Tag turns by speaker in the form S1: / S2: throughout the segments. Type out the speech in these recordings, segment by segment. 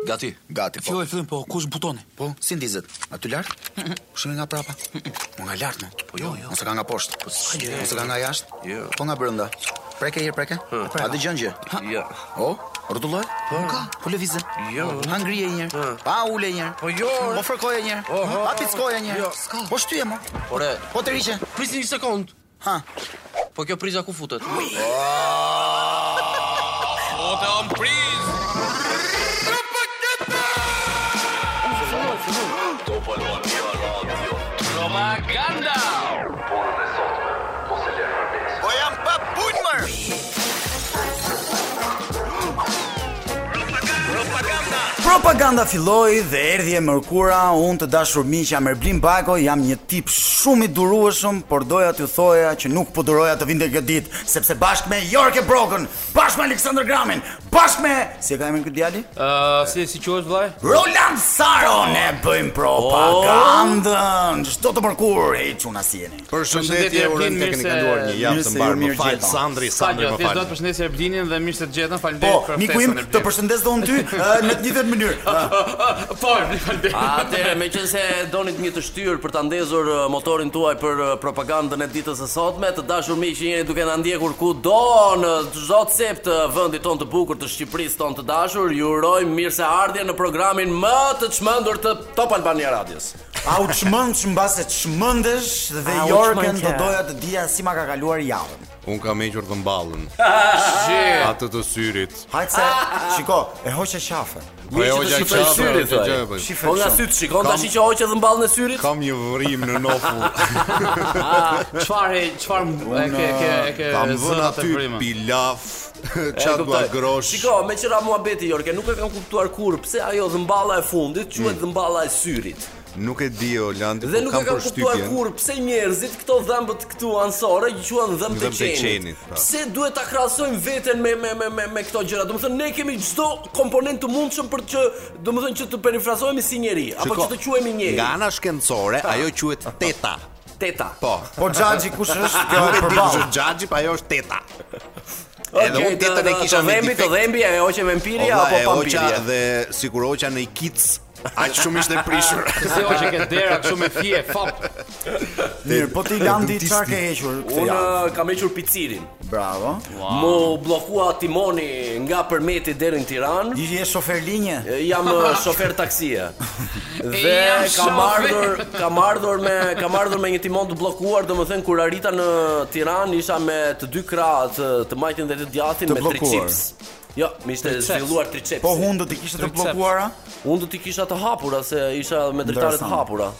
S1: Gati.
S2: Gati, po.
S3: Filloj fillim, po kush butoni?
S2: Po, si ndizet? Aty lart? Pushimi nga prapa. Po nga lart, mo. Po jo, jo. Ose ka nga poshtë. Po
S1: s'ke.
S2: Ose ka nga jashtë?
S1: Jo.
S2: Po nga brenda. Preke herë, preke. A dëgjon gjë?
S1: Ja.
S2: O, rrotullohet? Po. Ka, po lëvizet.
S1: Jo.
S2: Ha ngrije një herë.
S1: Ha.
S2: Pa ule një herë.
S1: Po jo, re.
S2: Po fërkoje një herë.
S1: Oho.
S2: Pa pickoje një herë.
S1: Jo.
S2: S'ka. Po shtyje mo.
S1: Ore,
S2: Po të riqe.
S1: prisni një sekond.
S2: Ha.
S1: Po kjo priza ku futet?
S4: O të om priz Propaganda
S2: Po jam pa punëmër.
S5: Propaganda filloi dhe erdhi e mërkura, unë të dashur miq jam Erblim Bako, jam një tip shumë i durueshëm, por doja t'ju thoja që nuk po duroja të vinte këtë ditë, sepse bashkë me Jorke Brokën, bashkë me Alexander Gramin, bashkë me si e ka emrin këtë djali?
S4: Ë, si si quhet vllai?
S5: Roland Saro ne bëjmë propagandën. Çdo të mërkur, e çuna si jeni.
S6: Përshëndetje,
S4: Erblin,
S6: urojmë të
S4: mirë
S6: keni
S4: se-
S6: kaluar një javë
S5: mirë
S6: të
S5: se
S6: mbarë.
S5: ju
S6: Më
S5: mirë
S6: fal,
S5: gjeta.
S6: Sandri,
S4: Sa
S6: Sandri,
S4: gjë,
S6: më
S4: thjesht do të
S6: fal.
S4: përshëndesë Erblinin dhe mirë se të gjetën.
S5: Po,
S4: Faleminderit për
S5: miku im,
S4: ftesën, Erblin.
S5: të përshëndes dhe unë ty ë, në të njëjtën mënyrë. Ë,
S4: Po, Erblin, faleminderit.
S1: Atëherë, me qënë se donit një të shtyrë për të ndezur eh, motorin tuaj për eh, propagandën e ditës e sotme, të dashur mi që jeni duke në ndjekur ku uh, do në çdo cep të vëndit ton të bukur të Shqipërisë ton të dashur, ju urojmë mirë se ardhje në programin më të çmendur të Top Albania Radios.
S5: A u çmend çmbase çmendesh dhe
S7: A u
S5: Jorgen
S7: çmend
S5: do
S7: ke?
S5: doja të dija si ma ka kaluar javën.
S6: Unë kam hequr dhëmballën. Atë të syrit.
S5: Hajtë se, shiko, e hoqe qafën.
S6: Po e
S1: që të
S6: hoqja
S1: shifroj
S6: qafën,
S1: syrit,
S6: hoqja
S1: thoj.
S6: qafën.
S5: Shifë
S1: Po nga
S5: qafën.
S1: sytë shikon tash që hoqë edhe mballën e syrit?
S6: Kam një vërim në nofull.
S4: Çfarë, çfarë e ke ke e ke
S6: Kam vënë
S4: zënat e
S6: aty
S4: vrimën?
S6: pilaf,
S1: E,
S6: çat
S1: kuptoj.
S6: dua grosh.
S1: Shiko, me qëra muhabeti Jorke, nuk e kam kuptuar kur pse ajo dhëmballa e fundit quhet
S6: Hmm.
S1: dhëmballa e syrit.
S6: Nuk e di Oland,
S1: Dhe
S6: po
S1: nuk e
S6: kam
S1: kam kuptuar
S6: përshtypjen.
S1: kur pse njerëzit këto dhëmbët këtu anësore i quhen dhëmbë të
S6: Dhëmbë të
S1: qenit.
S6: qenit, pra.
S1: Pse duhet ta krahasojmë veten me me me me, me këto gjëra? Domethënë ne kemi çdo komponent të mundshëm për që domethënë që të perifrazohemi si njeri apo
S6: Shiko,
S1: që të quhemi njeri.
S6: Nga ana shkencore, ajo quhet teta.
S1: Teta.
S6: Po.
S5: Po xhaxhi kush është kjo
S6: Nuk e di
S5: përballë?
S6: që xhaxhi, pa ajo është teta. Edhe
S1: Okej,
S6: unë tetën e
S1: të-
S6: kisha
S1: të
S6: me
S1: dhembi, të
S6: defekt.
S1: dhembi e hoqe me empiri
S6: Olla,
S1: apo
S6: e
S1: po, pa
S6: hoqa
S1: empiri.
S6: Po, dhe sikur hoqa në i kic, aq shumë ishte prishur.
S4: Se o që ke dera kështu me fije, fop.
S5: Mirë, po ti Landi çfarë ke hequr këtë
S1: Unë eh,
S5: javë?
S1: kam hequr picirin.
S5: Bravo.
S1: Mu bllokua timoni nga përmeti deri në Tiranë.
S5: Ti je shofer linje?
S1: Jam eh, shofer taksie. Dhe
S4: Jam
S1: kam
S4: shofer.
S1: ardhur, kam ardhur me kam ardhur me një timon të bllokuar, domethënë kur arrita në Tiranë isha me të dy krahët, të, të majtin dhe të djathtin
S5: Të
S1: me
S5: bllokuar.
S1: triceps. Jo, më ishte
S4: Triceps.
S1: zhvilluar triceps.
S5: Po hundët i kishte të
S4: Triceps.
S5: bllokuara?
S1: Unë do t'i kisha të hapura se isha me dritare të
S5: Interesant.
S1: hapura.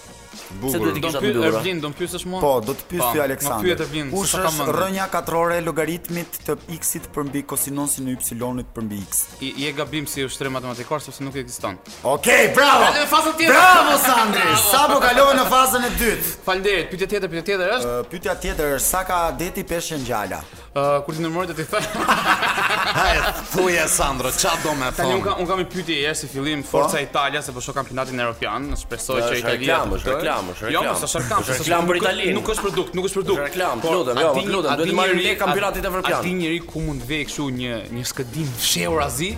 S1: Se duhet i
S4: Do
S1: kisha të
S4: pyet
S1: mbyllura.
S4: Erblin, do pyesësh mua?
S5: Po, do të pyes
S4: Po,
S5: ty
S4: ma
S5: Aleksandr.
S4: pyet Evelin,
S5: Kush
S4: s'ta kam
S5: është
S4: mendin.
S5: rrënja katrore e logaritmit të x-it përmbi kosinosin e y-it përmbi x?
S4: I je gabim si ushtrim matematikor sepse nuk ekziston.
S5: Okej, bravo.
S4: Edhe në fazën tjetër.
S5: Bravo Sandri, sapo kalove në fazën e dytë.
S4: Faleminderit. Pyetja tjetër, pyetja tjetër është,
S5: Ë, Pyetja tjetër është sa ka deti peshë ngjala?
S4: ë, kur ti ndërmori do t'i them.
S6: Hajde, thuaj Sandro, ç'a do me
S4: Tani
S6: thonë?
S4: un kam un kam një pyetje herë si fillim Forca Italia se po shoh kampionatin evropian, shpresoj që
S1: Është
S4: Italia.
S1: reklam,
S4: të
S1: është
S4: kuptoj.
S1: reklam, është reklam.
S4: Jo, mos është reklam,
S1: Është
S4: s'është-
S1: reklam për
S4: nuk-
S1: Italinë.
S4: Nuk është produkt, nuk është produkt.
S1: Është reklam,
S4: Por,
S1: lutem,
S4: a
S1: jo,
S4: di-
S1: lutem,
S4: a
S1: duhet
S4: di
S1: të marrim
S4: njeri-
S1: lek kampionatit
S4: a-
S1: evropian.
S4: A di njëri ku mund të vej kështu një një skëdim fshehur azi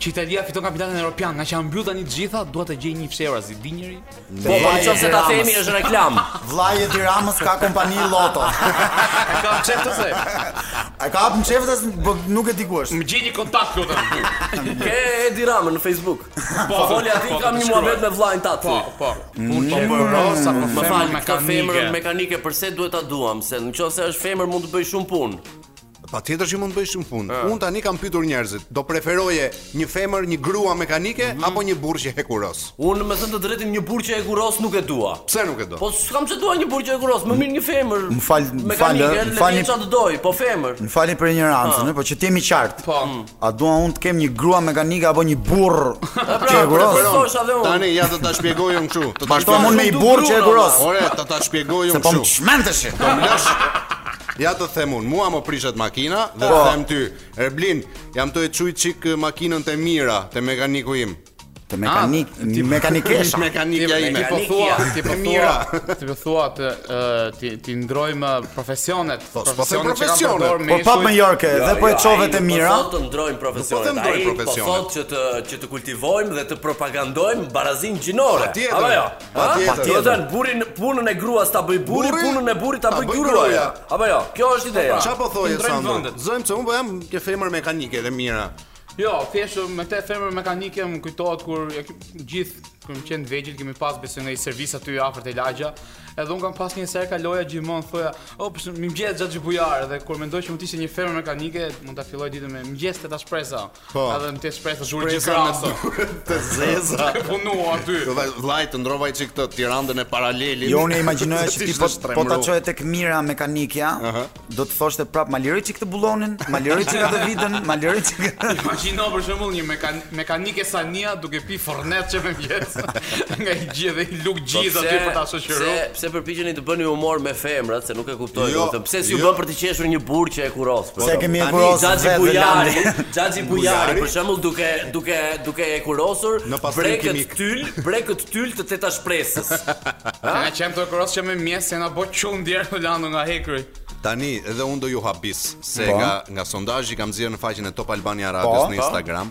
S4: që Italia fiton kampionatin evropian, nga që janë mbyll tani të gjitha, dua të gjej një fshehur azi, di njëri?
S1: Po, po, në qoftë se ta themi është reklam.
S5: Vllai i Tiranës ka kompani Lotto.
S4: E kam çeft ose.
S5: A ka hapën çeftës, po nuk e di ku është.
S4: Më gjej një kontakt lutem.
S1: Ke Edi Ramën në Facebook. Po, foli aty
S4: po,
S1: kam
S4: të
S1: një
S4: shkruaj.
S1: muhabet me vllajin tat.
S4: Po, po. Unë po më rosa po
S1: Më
S4: femër
S1: fal, ka femrën mekanike, përse duhet ta duam? Se në qoftë se është femër mund të bëj shumë punë.
S6: Patjetër që mund të bëj shumë punë. Unë tani kam pyetur njerëzit, do preferoje një femër, një grua mekanike apo një burrë që hekuros?
S1: Unë me thënë të drejtin një burrë që e kuros nuk e dua.
S6: Pse nuk e do?
S1: Po s'kam që dua një burrë që e kuros, më mirë një femër.
S5: Më fal- më fal,
S1: mekanike,
S5: më
S1: më
S5: fal
S1: fal
S5: një-
S1: çfarë të doj, po femër.
S5: Më falni për ignorancën, ë, po që t'jemi qartë.
S4: Po.
S5: A dua unë të kem një grua mekanike apo një burr që e
S1: preferon. po
S5: kuros?
S1: thosha dhe unë.
S6: Tani ja do ta shpjegoj unë kështu. Do ta
S5: Bashtohem unë me i burr që e kuros.
S6: Ore, do ta shpjegoj
S5: Se
S6: unë
S5: po më
S6: kështu.
S5: çmendesh.
S6: Do më lësh. Ja të them unë, mua më prishet makina dhe
S5: Po.
S6: të them ty, Erblin, jam të e quj çik makinën te mira, te mekaniku im.
S5: Të mekanik,
S4: ti-
S5: mekanikesha.
S6: Mekanikja
S4: Ti-
S6: ime.
S4: Ti po thua, ti po
S6: E
S4: thua,
S6: mira.
S4: ti po thua të ë, ti ti ndrojmë profesionet,
S6: Po, s'po the
S4: që kanë
S6: profesionet.
S5: Po
S4: përdorë meshkuj.
S5: pap me Jorke,
S1: Jo,
S5: dhe po e çove të mira.
S1: Po të ndrojmë
S6: Nuk po
S1: profesionet.
S6: të ndrojmë
S1: Ai
S6: profesionet.
S1: Po thotë që të që të kultivojmë dhe të propagandojmë barazin gjinore.
S6: Patjetër,
S1: Apo jo?
S6: patjetër.
S1: Do të thënë burin punën e gruas ta bëj buri,
S6: Burri,
S1: punën e burrit ta
S6: ta
S1: bëj
S6: bëj
S1: gruaja.
S6: gruaja.
S1: Apo jo? Kjo është ideja.
S6: Qa po thoje
S4: ndrojmë
S6: Sandro?
S4: Pra, vendet.
S6: Zojmë se unë po jam një femër mekanike dhe mira.
S4: Jo, thjesht me te femër mekanike më kujtohet kur ja, ki- gjithë kur më qenë vegjël kemi pas besoj në një servis aty afër te lagja. Edhe un kam pas një serë kaloja gjimon thoja, "O, psh, më ngjet xhaxhi bujar" dhe kur mendoj që mund të ishte një femër mekanike, mund ta filloj ditën me ngjet te ta shpresa.
S6: Po.
S4: Edhe më te shpresa zhuri
S6: Presa
S4: graso.
S6: me të zeza.
S4: Ke punuar aty.
S6: Jo, Vllai të ndrova i çik këtë Tirandën e paralelit.
S5: Jo unë e imaginoja që
S6: Ti
S5: ti
S6: ishte
S5: po po ta
S6: shtremru.
S5: çoje tek mira mekanikja, do të thoshte prap ma liroj çik të bullonin, ma liroj çik atë vitën, ma liroj çik.
S4: Imagjino për shembull një mekan mekanike sania duke pi forneçe me vjes nga i gjithë dhe i luk gjithë aty për ta shoqëruar.
S1: Pse pse përpiqeni të bëni humor me femrat, se nuk e kuptoj
S6: Jo,
S1: domethënë. Pse si u
S6: jo.
S1: bën për të qeshur një burr që e kuros? për
S5: Se
S1: shembull?
S5: kemi e
S6: tani,
S5: kurosur
S1: Xhaxhi
S5: vetë,
S1: Bujari,
S5: Landi.
S1: Xhaxhi Bujari për shembull duke duke duke e kurosur
S6: Në pastrim
S1: brekët
S6: kimik.
S1: tyl, brekët tyl të teta shpresës.
S4: Ne qem të koros që me mjes se na bë çun djerë në landë nga hekri.
S6: Tani edhe unë do ju habis se
S5: Po.
S6: nga nga sondazhi kam nxjerrë në faqen e Top Albania Radios
S5: Po,
S6: në
S5: po.
S6: Instagram,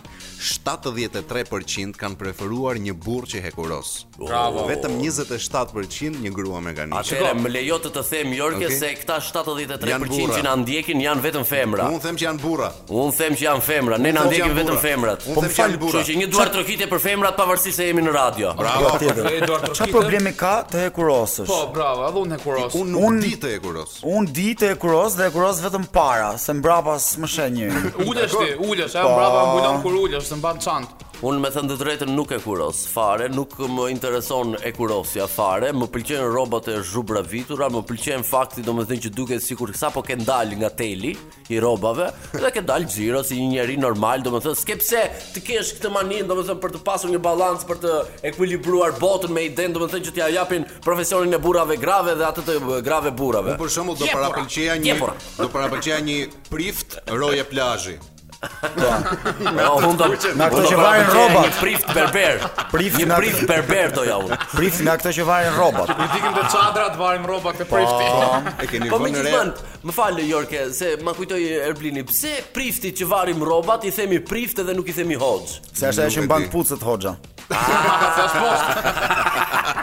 S6: 73% kanë preferuar një burrë që hekuros.
S4: Bravo.
S6: Vetëm 27% një grua mekanike.
S1: Atëherë më lejo të të them Jorke
S6: Okej.
S1: se këta 73%
S6: Janë
S1: që na ndjekin janë vetëm femra.
S6: Unë them që janë burra.
S1: Unë them që janë femra, ne na
S6: them që
S1: ndjekin
S6: janë
S1: vetëm
S6: burra.
S1: femrat.
S6: Unë
S1: Po
S6: them
S1: më
S6: që
S1: fal,
S6: janë burra.
S1: Kështu që një duar trokite për femrat pavarësisht se jemi në radio.
S6: Bravo.
S5: Tjetër.
S4: Dhe Eduard
S5: Çfarë
S4: Trokitën.
S5: problemi ka të e kurosësh?
S4: Po, bravo, edhe unë hekuros.
S6: Unë nuk
S5: Unë-
S6: di të hekuros.
S5: Unë di të e kuros dhe e kuros vetëm para, se mbrapa s'më sheh njëri.
S4: Ulesh ti, ulesh, ajo brava mbulon kur ulesh, se mban çant.
S1: Unë me thënë të drejtën nuk e kuros fare, nuk më intereson e kurosja fare, më pëlqen rrobat e zhubravitura, më pëlqen fakti domethënë që duket sikur sapo ke dal nga teli i rrobave dhe ke dal xhiro si një njerëz normal, domethënë s'ke pse të kesh këtë maninë domethënë për të pasur një balans për të ekuilibruar botën me idenë domethënë që t'ja japin profesionin e burrave grave dhe atë të grave burrave.
S6: Për shembull do
S1: Jepura,
S6: parapëlqeja një
S1: jepura.
S6: do parapëlqeja një prift roje plazhi.
S1: Po, unë do
S5: Nga këto
S1: unë do
S5: që varen
S1: parapëlqeja
S5: rrobat.
S1: Një prift berber.
S5: Prift
S1: një
S5: nga-
S1: prift berber do ja unë.
S5: Prift nga këto që varin rrobat.
S4: I dikim të çadrat, varim rroba këtë prifti.
S6: E keni
S1: Po më
S6: vënë re.
S1: gjithmonë, më falë Jorke, se ma kujtoj Erblini, pse priftit që varim rrobat i themi prift edhe nuk i themi hoxh?
S5: Se është ajo
S6: Nuk
S5: që
S6: e
S5: mban
S6: di.
S5: pucët hoxha.
S4: Ka thash poshtë.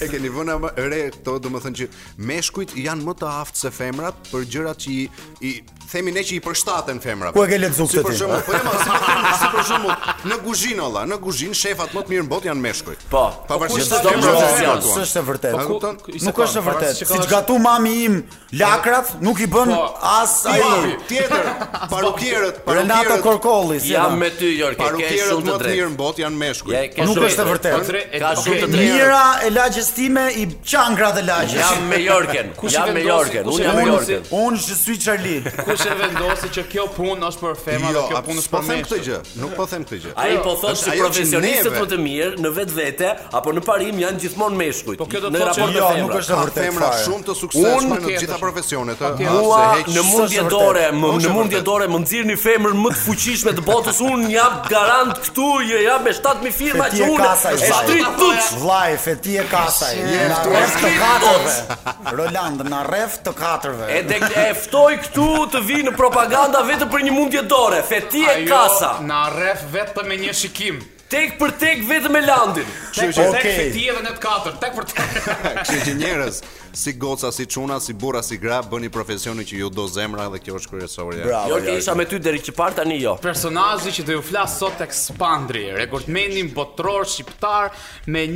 S6: E keni vënë ama re këto, domethënë që meshkujt janë më të aftë se femrat për gjërat që i, i themi ne që i përshtaten femrave.
S5: Ku e ke lexuar
S6: Si
S5: këtë
S6: për
S5: ti?
S6: shembull, po jema, si, për shembull- si për shembull në kuzhinë olla, në kuzhinë shefat më të mirë në botë janë meshkujt.
S1: Po.
S6: Pavarësisht se
S1: Po, kush do
S6: femrat
S1: të
S6: janë
S1: profesion.
S6: femrat.
S1: thua.
S5: S'është e vërtetë.
S6: Po, ku-
S4: ku-
S5: Nuk është e
S4: se ka,
S5: vërtetë.
S4: se ka-
S5: Siç gatu mami im lakrat, nuk i bën
S4: Po.
S5: as
S6: Ti
S5: ai.
S6: tjetër, parukierët,
S5: Renato
S6: parukierët,
S5: Korkolli, si
S1: Jam
S5: na.
S1: me ty Jorke, ke
S6: parukierët
S1: shumë
S6: më
S1: të
S6: të mirë
S1: drejtë.
S6: në botë janë
S1: Ja,
S6: meshkujt.
S1: ke
S5: Nuk
S1: shumë
S5: është e
S1: drejtë.
S5: vërtetë.
S4: drejtë.
S1: Ka shumë të
S4: Okej,
S1: drejtë.
S5: Mira e lagjes time i qangra dhe lagjes.
S1: Jam me Jorken,
S4: Kush i
S1: jam me
S4: vendosi-
S1: Jorken,
S4: kush i
S1: unë jam me
S4: vendosi-
S1: Jorken.
S5: Unë je suis Charlie.
S4: Kush e vendosi që kjo punë është për femra dhe
S6: Jo,
S4: kjo
S6: a-
S4: punë është
S6: po
S4: për
S6: them këtë
S4: meshkuj?
S6: gjë, nuk po them këtë gjë.
S1: Ai po thotë
S6: Është
S1: se
S6: ajo që
S1: profesionistët
S6: neve-
S1: më të mirë në vetvete apo në parim janë gjithmonë meshkujt.
S4: Po kjo do të
S1: në
S4: thotë që-
S1: raport me
S5: Jo, nuk
S1: femrat.
S5: është e
S6: Ka
S5: vërtetë
S6: femra
S5: fare.
S6: shumë të suksesshme në
S4: Unë-
S6: të gjitha profesionet, ë.
S1: Mua
S6: Se heq-
S1: në mundje
S5: s'është
S1: dore,
S5: vërtet.
S1: më
S6: Nuk
S1: në
S6: është
S1: mundje
S6: vërtet.
S1: dore më nxirrni femër më të fuqishme të botës. Un jap garant këtu, ju jap me 7000 firma
S5: Se ti
S1: që
S5: e
S1: unë
S5: kasa i
S1: e
S5: vllai.
S1: shtrit tuç.
S5: Vllai, feti e kasaj. Na
S6: ftuar
S5: rref të
S1: shkript,
S5: katërve. Roland, na rref të katërve.
S1: E dek e ftoj këtu të vi në propaganda vetëm për një mundje dore. Feti e kasa.
S4: na rref vetëm me një shikim.
S1: Tek për tek vetëm me landin.
S4: Tek për tek
S5: Okej.
S4: feti edhe në të katër, tek për tek.
S6: Kështu që njerëz, si goca, si çuna, si burra, si gra, bëni profesionin që ju do zemra dhe kjo është kryesorja.
S5: Bravo.
S1: Jo, ke isha me ty deri që parë tani jo.
S4: Personazhi që do ju flas sot tek Spandri, rekordmenin botror shqiptar me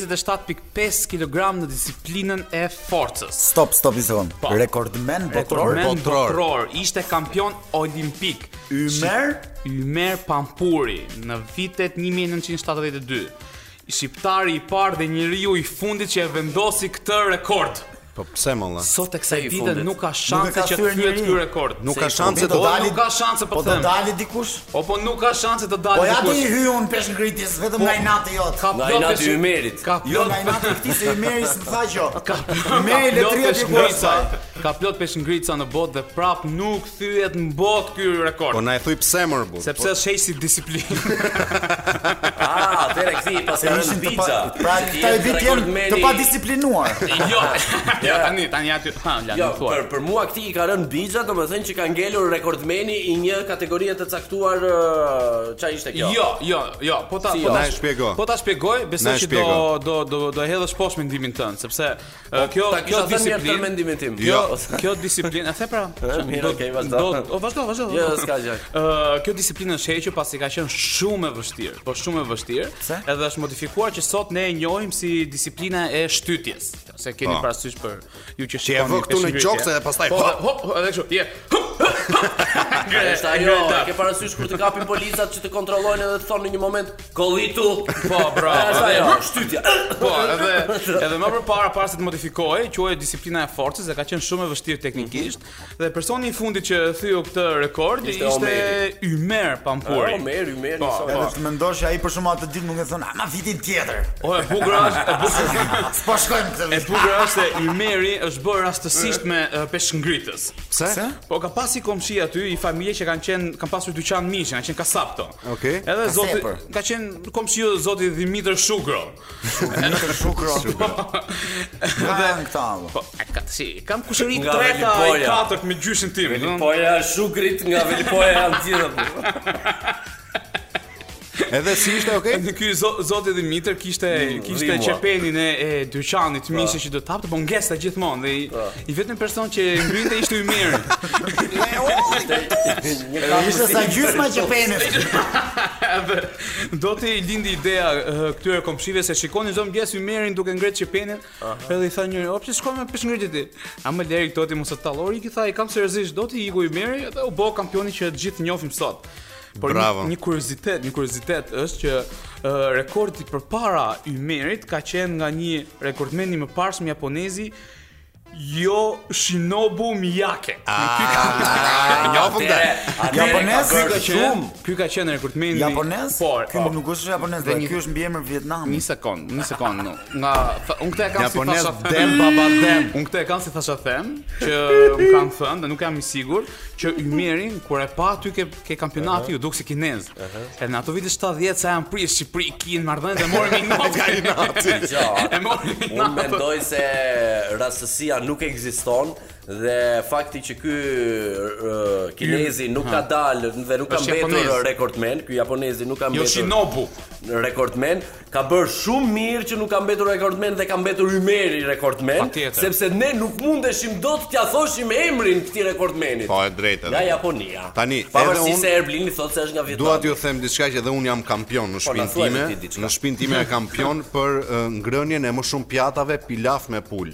S4: 127.5 kg në disiplinën e forcës.
S5: Stop, stop një sekond.
S4: Po.
S5: Rekordmen botror.
S4: Rekordmen
S6: botror.
S4: botror, ishte kampion olimpik.
S5: Ymer?
S4: Ymer Pampuri në vitet 1972. Shqiptari i parë dhe njeriu i fundit që e vendosi këtë rekord.
S6: Po pse molla?
S4: Sot e
S1: Se
S4: kësaj
S1: i
S4: dite
S1: fundit.
S4: nuk ka
S5: Nuk e ka
S4: shanse që të
S5: thyer
S4: thyet
S5: njeri.
S4: ky rekord.
S6: Nuk
S1: Se
S6: ka
S1: i
S6: shanse
S5: Po
S6: të
S5: do dali
S4: nuk ka shanse për
S5: Po do
S4: them.
S5: dali dikush?
S4: O po nuk ka shanse të dalë
S5: Po ja ti
S4: dikush. Po.
S5: hy un pesh ngritjes vetëm nga inati jot.
S4: Ka
S1: Nga
S4: plot
S1: inati
S4: peshi-
S1: i Ymerit.
S4: Ka
S5: Jo
S4: plot
S5: nga inati i këtij se i meri s'm tha gjë.
S4: Ka Jo,
S5: Meri
S4: ka plot
S5: letria ti ku
S4: peshngrica, ka plot peshngrica në botë dhe prap nuk thyet në botë ky
S6: Po
S4: rekord.
S6: na e thuj pse mor bu.
S4: Sepse është heq si disiplinë.
S1: herë kthi Ah, pas ka rënë
S5: të pa,
S1: pizza.
S5: pra
S1: Ti
S5: këta
S1: je
S5: e vit janë
S1: rekordmeni-
S5: të padisiplinuar.
S4: Jo. Ja tani tani aty. Ha, la
S1: Jo,
S4: nuk
S1: për
S4: thuar.
S1: për mua këti i ka rënë Bixa, domethënë që ka ngelur rekordmeni i një kategorie të caktuar ë, ç'a ishte kjo.
S4: Jo, jo, jo, po ta
S1: Si
S4: po
S1: jo?
S4: ta
S6: Na e shpjego.
S4: Po ta shpjegoj, besoj
S6: Na e
S4: që do
S6: shpjego.
S4: do do do e hedhësh poshtë mendimin tënd, sepse eh, kjo
S1: Ta
S4: kjo
S1: kisha thënë një herë
S4: disiplinë
S1: mendimin tim.
S6: Jo.
S1: Ose-
S4: Kjo disiplinë, a the pra?
S1: mirë,
S4: Do-
S1: okay, vazhdo.
S4: do- O vazhdo, vazhdo.
S1: Jo,
S4: vazhdo.
S1: s'ka gjë.
S4: Ë, kjo disiplinë është hequr pasi ka qenë shumë e vështirë, po shumë e vështirë.
S5: Pse?
S4: Edhe është modifikuar që sot ne e njohim si disiplina e shtytjes. Se keni
S6: Po.
S4: parasysh për ju
S6: e
S4: që
S6: vë
S4: shikoni
S6: këtu në
S4: peshqyrje.
S6: qokse dhe pastaj
S4: po,
S6: hop.
S4: hop, edhe kështu. Je.
S1: Është ajo, e ke parasysh kur të kapin policat që të kontrollojnë edhe të thonë në një moment kollitu.
S4: Po, bravo.
S1: Është ajo,
S4: Edhe-
S1: shtytja.
S4: Po, edhe edhe më përpara para se të modifikohej, quhej disiplina e forcës dhe ka qenë shumë e vështirë teknikisht. Dhe personi i fundit që thyu këtë rekord
S1: Ishte
S4: ishte,
S1: Omeri.
S4: Ymer Pampuri.
S1: Po, merr, merr.
S4: Po, po.
S5: Edhe të mendosh që ai për shumë atë ditë nuk e thon, "Ama vitin tjetër."
S4: O, e bukur është, e bukur
S5: S'po shkojmë këtë
S4: E
S5: vit.
S4: bukur është se Ymeri është bërë rastësisht me uh, peshngritës.
S6: Pse?
S5: Pse?
S4: Po ka pasi komshi aty i familje që kanë qenë kanë pasur dyqan mishi, kanë qenë kasap to.
S6: Okej.
S4: Edhe
S5: Ka
S4: zoti
S5: sepër.
S4: ka qenë komshiu zoti Dimitër Shukro.
S5: Dimitër Shukro. Edhe këta. vë.
S4: Po, e ka si, kam kushëri
S1: Nga
S4: treta i
S1: Velipoja.
S4: katërt me gjyshin tim. Po,
S1: Velipoja shugrit nga Velipoja janë gjithë. po.
S6: Edhe si ishte, okay?
S4: Në ky zo- zoti Dimitër kishte kishte
S1: rrimua.
S4: qepenin e, e dyqanit të mishit që do të hapte, Mm, po ngesta gjithmonë dhe i, i vetëm person që e ngrinte ishte Ymeri. Po.
S5: Ishte sa gjysma që penit.
S4: Edhe do të i lindi ideja eh, këtyre komshive se shikoni çdo mëngjes ju merrin duke ngretë çepenin. Edhe i tha njëri, "O pse shkon me peshngritje ti?" A më leri këto ti mos e tallori, i tha, "I kam seriozisht, do të iku i merri edhe u bë kampioni që gjithë njohim sot." Por
S6: Bravo.
S4: një, një kuriozitet, një kuriozitet është që eh, rekordi përpara Ymerit ka qenë nga një rekordmen i mëparshëm japonezi Jo Shinobu Miyake.
S6: Njofëm dhe.
S5: Japonez?
S4: Ky ka qenë, ky ka qenë rekordmeni.
S5: Japonez?
S4: Po,
S5: Ky
S4: po.
S5: nuk është japonez,
S4: Dhe
S5: dhe
S4: një-
S5: ky është mbiemër Vietnami.
S4: Një sekond, një sekond, no. Nga fa- unë këtë e kam
S6: Japonez
S4: si thasha
S6: dem, baba dem.
S4: Unë këtë e kam si thasha them, që më kanë thënë dhe nuk jam i sigurt që Ymerin kur e pa aty ke ke kampionati ju duk si kinez. Edhe në ato vite 70 sa janë pris Shqipëri, Kinë, marrëdhënë dhe morën minat nga inati. E morën
S1: Unë
S4: minat.
S1: mendoj se rastësia nuk ekziston dhe fakti që ky ë, kinezi nuk ka dalë dhe nuk ka
S4: Është
S1: mbetur
S4: japonez.
S1: rekordmen, ky japonezi nuk ka mbetur
S4: Yoshinobu.
S1: rekordmen, ka bërë shumë mirë që nuk ka mbetur rekordmen dhe ka mbetur Ymeri rekordmen,
S4: Patjetër.
S1: sepse ne nuk mundeshim dot t'ja thoshim emrin këtij rekordmenit.
S6: Po, e drejtë
S1: Nga
S6: edhe.
S1: Japonia.
S6: Tani,
S1: pavarësisht
S6: edhe
S1: se
S6: unë-
S1: Erblini thotë se është nga
S6: Dua
S1: Vietnami.
S6: t'ju them diçka që edhe un jam kampion në
S1: Po, na
S6: shtëpinë
S1: thuaj
S6: time.
S1: ti diçka.
S6: Në shtëpinë time jam kampion për eh, ngrënien e më shumë pjatave pilaf me pul.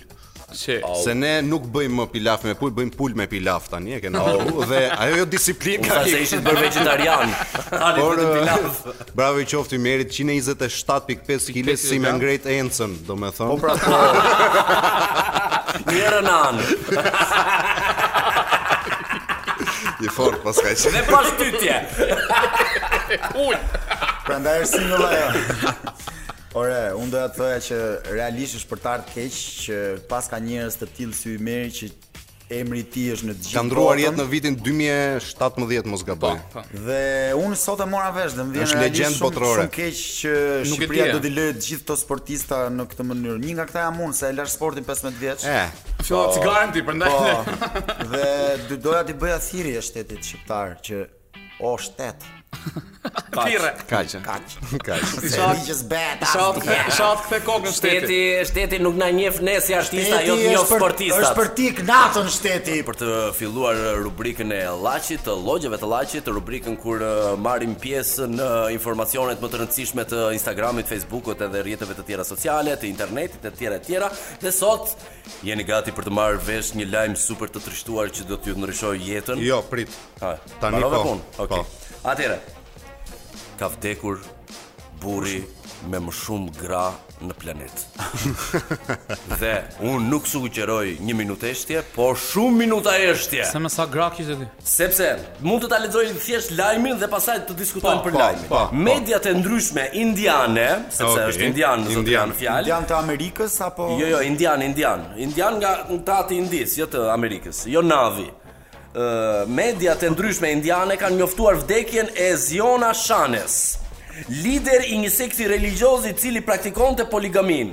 S4: Çe.
S6: Se ne nuk bëjmë më pilaf me pul, bëjmë pul me pilaf tani, e kena oh. dhe ajo jo disiplinë
S1: Unë
S6: ka
S1: tha se
S6: ikë.
S1: ishit bërë vegetarian. Ani
S6: Por
S1: vetëm
S6: eh,
S1: pilaf.
S6: bravo i qoftë i merit 127.5 kg si me ngrejt encën, domethënë. Po pra,
S1: Mirë nan.
S6: i fort pas ka qenë.
S1: Dhe pa shtytje.
S4: Ul.
S5: Prandaj është singull ajo. Ore, unë doja të thoja që realisht është për të ardhur keq që pas ka njerëz të tillë si Ymeri që emri i tij është në të gjithë.
S6: Ka ndruar
S5: botën,
S6: jetë në vitin 2017 mos gaboj.
S1: Po,
S5: Dhe unë sot e mora vesh dhe më vjen
S6: Është
S5: realisht
S6: legjend
S5: shumë,
S6: botërore.
S5: shumë keq që
S4: Nuk e
S5: Shqipëria
S4: dija.
S5: do t'i lëjë të gjithë këto sportista në këtë mënyrë. Një nga këta jam unë se e lash sportin 15 vjeç.
S6: E,
S4: Fillon cigaren ti prandaj.
S5: Po. Dhe do- doja t'i bëja thirrje shtetit shqiptar që o shtet,
S4: Pirre.
S6: kaq. e.
S5: kaq.
S6: Kaq.
S5: Se
S4: Shoh-
S5: ligjës bëhet.
S4: Shoh
S5: asnjë.
S4: shoh këtë kokën shteti.
S1: Shteti, shteti nuk na njeh ne si artista,
S5: Shteti
S1: jo të njoh
S5: është për-
S1: sportistat.
S5: Është për ti knatën shteti.
S1: për të filluar rubrikën e llaçit, të llogjeve të llaçit, rubrikën kur uh, marrim pjesë në informacionet më të rëndësishme të Instagramit, Facebookut edhe rrjeteve të tjera sociale, të internetit e të tjera e tjera. Dhe sot jeni gati për të marrë vesh një lajm super të trishtuar që do t'ju ndryshojë jetën.
S6: Jo, prit.
S1: Ha,
S6: Tani
S1: mbarove
S6: po.
S1: punë? Okej.
S6: Po.
S1: Atëherë. Ka vdekur burri me më shumë gra në planet. Dhe unë nuk sugjeroj një minutë eshtje, por shumë minuta eshtje.
S4: Se më sa gra kishte ti.
S1: Sepse mund të ta lexoj thjesht lajmin dhe pastaj të diskutojmë
S6: Po,
S1: për
S6: po,
S1: lajmin.
S6: po, po.
S1: Mediat e ndryshme indiane, sepse
S6: Okej.
S1: është indian, zotëri
S6: Indian.
S1: janë fjalë.
S5: Janë të Amerikës apo
S1: Jo, jo, indian, indian. Indian nga tati indis, jo të Amerikës, jo navi. Ë mediat e ndryshme indiane kanë njoftuar vdekjen e Ziona Shanes. lider i një sekti religioz i cili praktikonte poligamin.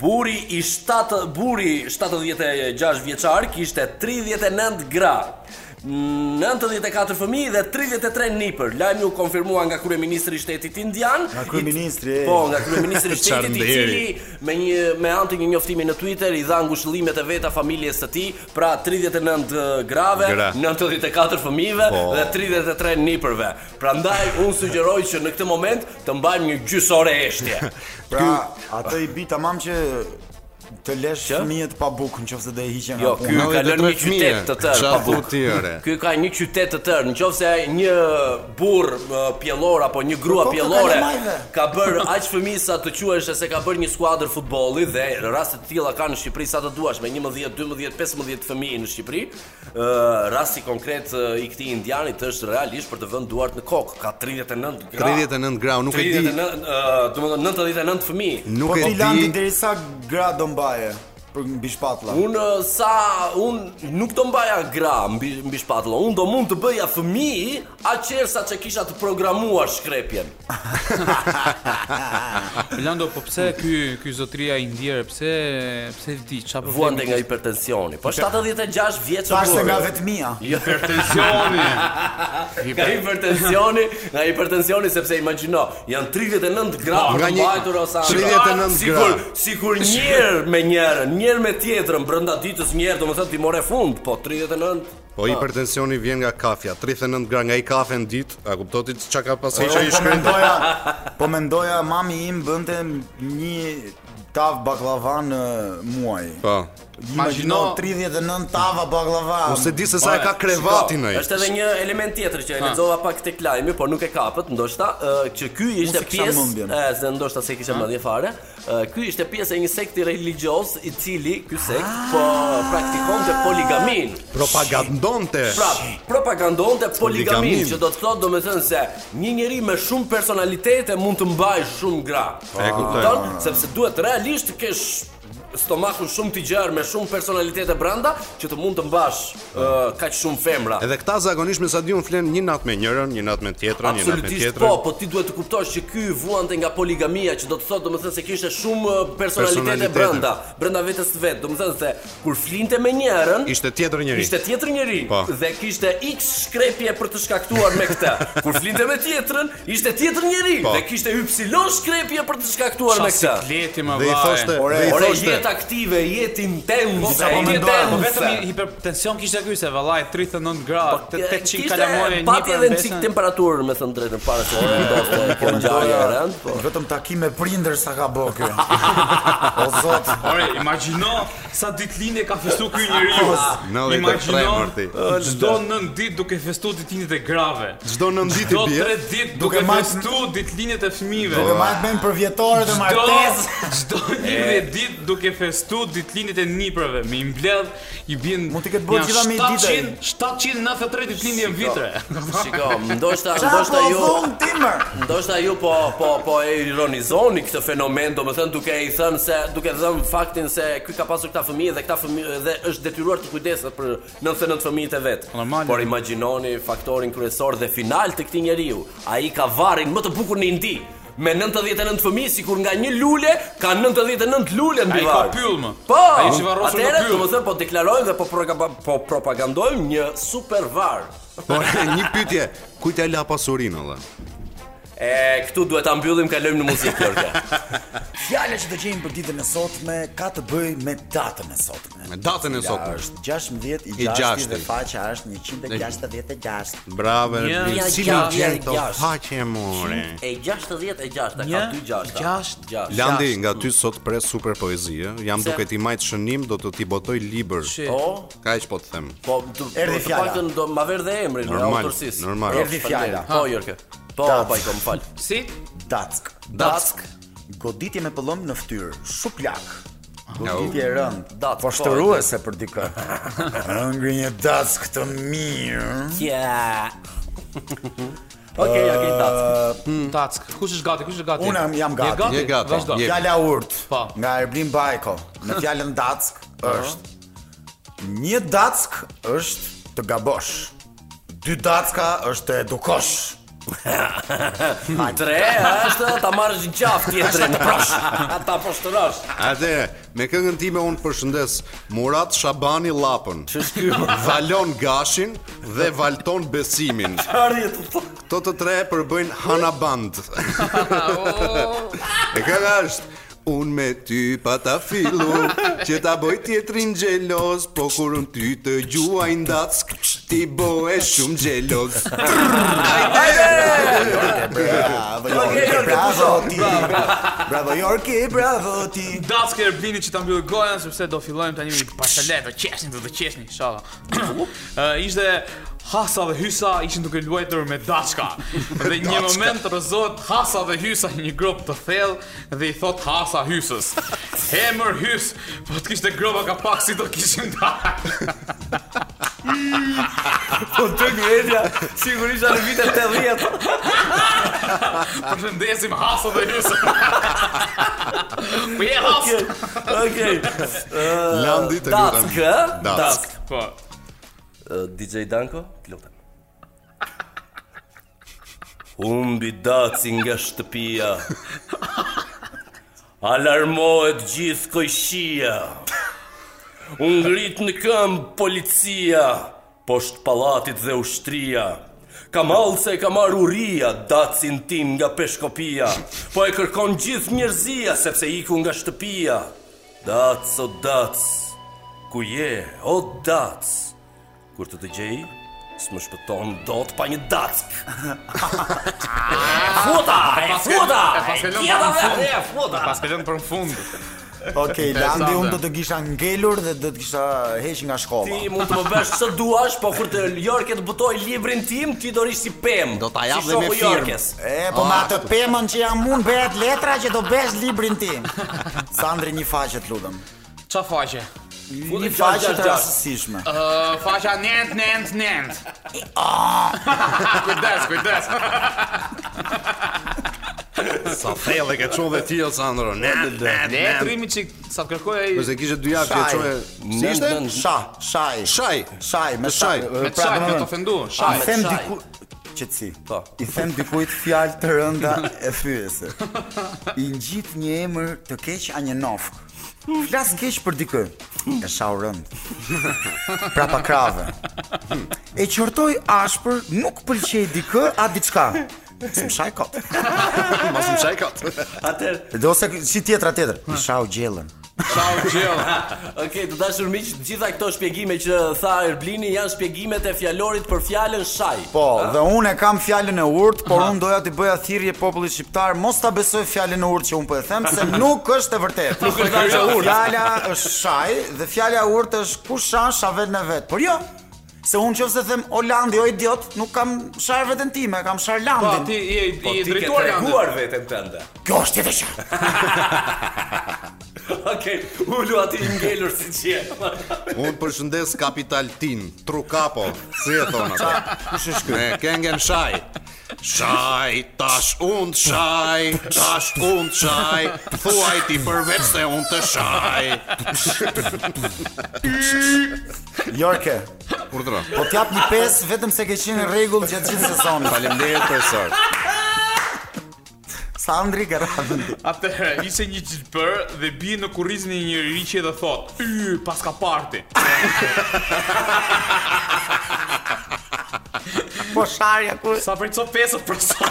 S1: Buri i 7 buri 76 vjeçar kishte 39 gra. 94 fëmijë dhe 33 nipër. Lajmi u konfirmua nga kryeministri i shtetit indian.
S5: Nga kryeministri,
S1: i-
S5: e.
S1: Po, nga kryeministri i shtetit i
S6: Çanderi.
S1: cili me një me anë të një njoftimi në Twitter i dha ngushëllimet e veta familjes së tij, pra 39 grave,
S6: Gra.
S1: 94 fëmijëve
S6: Po.
S1: dhe 33 nipërve. Prandaj unë sugjeroj që në këtë moment të mbajmë një gjysore eshtje.
S5: Pra, atë i bi tamam që të lesh
S1: Që?
S5: fëmijët pa bukë nëse do e hiqen
S1: Jo,
S5: nga
S1: ky
S5: puna.
S1: ka lënë një qytet të tërë pa bukë.
S6: bukë.
S1: Ky ka një qytet të tërë. Nëse një burr më, pjellor apo një grua
S5: Po, po, ka
S1: pjellore
S5: kalamajve.
S1: ka bër aq fëmijë sa të quhesh se ka bër një skuadër futbolli dhe raste të tilla kanë në Shqipëri sa të duash me 11, 12, 15 fëmijë në Shqipëri. Ë rasti konkret ë, i këtij indianit është realisht për të vënë duart në kokë. Ka 39 gra.
S6: 39 gra, nuk e di.
S1: 39, ë, domethënë 99 fëmijë.
S6: Nuk
S5: Po
S6: e
S5: ti landi
S6: di.
S5: deri sa gra do mbaje për mbi shpatulla.
S1: Unë uh, sa unë nuk do mbaja gra mbi, mbi shpatulla, unë do mund të bëja fëmijë aqer sa që kisha të programuar shkrepjen.
S4: Milando, po pse ky ky zotria indier, pse pse vdi? Çfarë problemi
S1: Vuante nga
S4: kishte?
S1: hipertensioni. Po 76 vjeç
S5: Tash se
S1: burë.
S5: nga vetmia.
S1: Jo,
S4: Hipertensioni.
S1: Nga hipertensioni, nga hipertensioni sepse imagjino, janë 39 gra
S6: Po, nga
S1: të
S6: një-
S1: mbajtur ose
S6: 39
S1: sikur
S6: gra.
S1: sikur njërë me njërën, njërë me tjetrën brenda ditës njërë, domethënë ti more fund, po 39
S6: Po hipertensioni vjen nga kafja, 39 gra nga i kafe në ditë, a kuptoti çka ka
S5: Po
S1: jo,
S6: pasur?
S5: po mendoja, po mendoja mami im bënte një tav baklava në muaj.
S6: Po.
S5: Imagjino 39 tava baklava.
S6: Ose di se sa e ka krevatin ai.
S1: Po, Është edhe një element tjetër që e lexova pak tek lajmi, por nuk e kapët, ndoshta ë, që ky ishte
S5: se kisha
S1: pjesë,
S5: mendjen.
S1: e, se ndoshta se kisha mendje fare. ë, Ky ishte pjesë e një sekti religjios i cili ky sekt
S5: Ah.
S1: po praktikonte poligamin.
S6: Propagandonte.
S1: Pra, propagandonte poligamin,
S6: Poligamin.
S1: që do të thotë domethënë se një njeri me shumë personalitete mund të mbajë shumë gra.
S6: E kuptoj.
S1: Kupton? Sepse duhet realisht të kesh stomakun shumë të gjerë me shumë personalitete brenda që të mund të mbash ë, kaq shumë femra.
S6: Po. Edhe këta zakonisht me sa diun flen një natë me njërën, një natë me tjetrën, një natë me
S1: Absolutisht
S6: tjetrën.
S1: po, po ti duhet të kuptosh që ky vuante nga poligamia, që do të thotë domethënë se kishte shumë eh, personalitete
S6: Personalitete.
S1: brenda, brenda vetes së vet. Domethënë se kur flinte me njërin,
S6: Ishte tjetër njëri.
S1: ishte tjetër njeri
S6: Po.
S1: dhe kishte x shkrepje për të shkaktuar me këtë. Kur flinte me tjetrën, ishte tjetër njeri
S6: Po.
S1: dhe kishte y shkrepje për të shkaktuar me
S4: Çfarë
S1: këtë.
S4: kleti më
S6: Dhe i thoshte,
S4: vaje.
S5: Ore,
S6: dhe i
S1: Po, Ore,
S6: thoshte,
S1: jetë aktive, jetë intense,
S5: po
S1: jetë
S5: mendoja, po
S4: Po
S1: intense.
S4: vetëm hi- hipertension kishte ky se vallaj 39 gradë,
S1: Po,
S4: 800
S1: kishte
S4: kalamore një
S1: Pati
S4: për
S1: edhe në
S4: mbesën.
S1: çik temperaturë me thënë drejtën para se
S6: Po,
S1: të vendoste kjo ngjarje e rënd, po.
S5: vetëm takim me prindër sa ka bë kjo. O zot,
S4: Ore, imagjino sa ditë lindje ka festu ky
S5: Po,
S4: njeriu.
S6: 93 mërti.
S4: Ah, çdo 9 ditë duke festu ditëlindjet e grave.
S6: çdo nën ditë
S4: Çdo
S6: bie.
S4: 3 ditë
S5: Duke
S4: duke
S5: marrë-
S4: festu ditëlindjet e fëmijëve.
S5: do marrë bëjmë për vjetore dhe
S4: Çdo
S5: martesë.
S4: çdo 11 ditë duke festu ditëlindjet e nipërve, me i mbledh i bien
S5: Mund t'i ketë bërë
S4: janë
S5: gjitha me i ditë,
S4: 700 793 ditëlindje në vitre.
S1: Shiko, ndoshta
S5: Qa po
S1: ndoshta jo- ju
S5: dhun timër?
S1: Ndoshta ju po po po e ironizoni këtë fenomen, domethënë duke i thënë se duke dhënë faktin se ky ka pasur këta fëmijë dhe këta fëmijë dhe është detyruar të kujdeset për 99 fëmijët e vet.
S4: Normal.
S1: Por imagjinoni faktorin kryesor dhe final të këtij njeriu. Ai ka varrin më të bukur në Indi me 99 fëmijë sikur nga një lule ka 99 lule mbi
S4: Ai ka
S1: varr.
S4: pyll më.
S1: Po.
S4: Ai që varrosur në
S1: atëherë,
S4: pyll.
S1: Domethënë po deklarojmë dhe po proga- po propagandojmë një super varr.
S6: Por një pyetje, kujt e la pasurinë olla?
S1: E këtu duhet ta mbyllim, kalojmë në muzikë Lorka.
S5: Fjala që do gjejmë për ditën e sotme ka të bëjë me datën e sotme.
S6: Me datën e
S5: Ja,
S6: sotme.
S5: Është 16
S6: I
S5: i 6
S6: gjashtit.
S5: dhe faqa është 166.
S6: Bravo,
S4: Një,
S6: Erbil.
S1: një,
S6: Cili
S1: gjashtë,
S6: vjen të
S1: gjashtë.
S6: faqe more.
S1: E 66, ka
S4: Një,
S1: dy gjashta.
S4: gjashtë,
S1: gjashtë.
S6: Landi, nga ty sot pres super poezi, ë. Jam duke ti majt shënim, do të ti botoj libër.
S1: O,
S6: Kaq po të them.
S1: po të,
S5: Erdhi
S1: të
S5: fjala.
S1: paktën do ma vër dhe emrin e
S6: Normal,
S1: autorsisë.
S6: normal.
S1: Po,
S5: Erdhi fjala.
S1: faleminderit. Po Jorka. Po,
S5: Dac.
S1: po i kom fal.
S4: Si?
S5: Dack.
S1: Dack.
S5: Goditje me pëllëm në fytyrë, shuplak. Goditje e rënd,
S1: Dack,
S5: po
S1: po,
S5: shtëruese për dikë. Ëngri një dack të mirë.
S1: Yeah. Okej, okej, dac.
S4: Tack. Kush është gati? Kush është gati?
S5: Unë jam- jam gati.
S6: Je gati,
S4: Vazhdo.
S6: je.
S5: Fjala urt
S4: Po.
S5: nga Erblin Bajko me fjalën dack është një dack është të gabosh. Dy dacka është të edukosh.
S1: Tre është ta marrësh gjafë tjetrin. Ta poshtërosh.
S6: Atëre, me këngën time unë përshëndes Murat Shabani Llapën. Valon Gashin dhe Valton Besimin. Këto të tre përbëjnë Hana Band. e kënga është Unë me ty pa ta fillu Që ta boj tjetrin gjelos Po kur unë ty të gjuaj ndack Ti bëhe shumë gjelos
S5: Bravo Jorki, bravo ti. Bravo Jorki, bravo ti.
S4: Dacke e blini që ta mbyllë gojen sepse do fillojmë tani me pastele, do qesni, do të qesni inshallah. Ë ishte Hasa dhe Hysa ishin duke luajtur me Daçka. Dhe një moment rrezohet Hasa dhe Hysa në një grop të thellë dhe i thot Hasa Hysës. Hemër Hys, po të kishte gropa ka pak si do kishim dalë.
S1: Po të ngredja, sigurisht janë vitet 80.
S4: Përshëndesim Hasa dhe Hysën. Po je Hasa.
S1: Okej.
S6: Landi të lutem.
S1: Dask, ë?
S6: Dask.
S1: Dask.
S4: Po.
S1: Ë, DJ Danko, të lutem. Humbi daci nga shtëpia. Alarmohet gjithë kojshia. Unë ngrit në këmbë policia, poshtë palatit dhe ushtria. Kam hallë se e ka marrë uria, dacin tim nga peshkopia, po e kërkon gjithë njerëzia, sepse iku nga shtëpia. Dac, o dac, ku je, o dac, kur të të gjej, s'më shpëton dot pa një dack. futa, e futa,
S4: E pas
S1: e
S4: kalon
S1: tjera,
S4: për në fund.
S1: e futa.
S4: Pas kalon për në fund.
S5: Okej, Landi,
S4: Interesante.
S5: unë do të kisha ngelur dhe do të kisha heq nga shkolla.
S1: Ti mund të më bësh ç'do duash, po kur të Jorke të butoj librin tim, ti do rish si pem.
S6: Do ta jap
S1: si
S6: dhe me
S1: shoku
S6: firmë.
S1: Jorkes.
S5: E, po me atë pemën që jam unë bëhet letra që do besh librin tim. Sandri, një faqe të lutem.
S4: Qa faqe?
S5: Një
S1: faqe
S5: faqe
S1: gjashtë,
S5: të
S1: gjashtë.
S5: rastësishme.
S4: Uh, faqa nent, nent, nent Kujdes, kujdes
S6: Sa thellë e ke çon dhe ti Sandro. Ne ne
S4: Ne e trimi që sa të kërkoj ai
S6: Ose kishe dy javë që
S5: Shaj.
S6: çoje. Si
S1: Nën-
S6: ishte?
S1: nën-
S5: Sha, shaj.
S6: Shaj.
S5: Shaj, me shaj.
S4: Me
S5: Pra,
S4: çaj, me
S5: domethënë,
S4: të ofendu
S5: A
S4: Shaj,
S5: them
S1: shaj.
S5: diku qetësi.
S1: Po.
S5: I them dikujt fjalë të rënda e fyese. I ngjit një emër të keq a një nofk. Flas keq për dikë. E shau rënd. Prapa krave. E qortoj ashpër, nuk pëlqej dikë a diçka. Së më shaj kot.
S6: Mos më çaj kot.
S1: Atëherë,
S5: Dhe ose si tjetra tjetër. I shau gjellën.
S4: shau, gjell
S1: Okej, të dashur miq, të gjitha këto shpjegime që tha Erblini janë shpjegimet e fjalorit për fjalën shaj.
S5: Po, dhe unë e kam fjalën e urtë, por unë doja t'i bëja thirrje popullit shqiptar mos ta besoj fjalën e urtë që unë po e them, se nuk është e vërtetë. nuk
S1: është fjalë e urtë.
S5: Fjala është shaj dhe fjala e urtë është kush shan shavet në vet. Por jo, se unë qofse them Olandi o idiot, nuk kam shar veten time, kam shar
S4: Po,
S5: Landin.
S4: ti je
S1: Po,
S4: i
S1: ti ke
S4: drejtuar janë
S1: treguar veten tënde.
S5: Kjo është tjetër shaj.
S1: Okej, ulu aty i ngelur si çje.
S6: Unë përshëndes Kapital Tin, Trukapo, si e thonë ata. Kush është ky? Me këngën Shaj. Shaj, tash unë të shaj, tash unë të shaj, thuaj ti përveç se unë të shaj.
S5: Jorke,
S6: Urdhëro.
S5: po t'jap një pesë vetëm se ke qenë në rregull gjatë
S6: Po.
S5: gjithë sezonit.
S6: Faleminderit për sot.
S5: Sandri Garadën ti.
S4: Atëherë, ishte një gjilpër dhe bie në kurrizin e një njeri që dhe thot Y, pas ka parti
S5: Po sharja ku
S4: Sa për co pesët për sa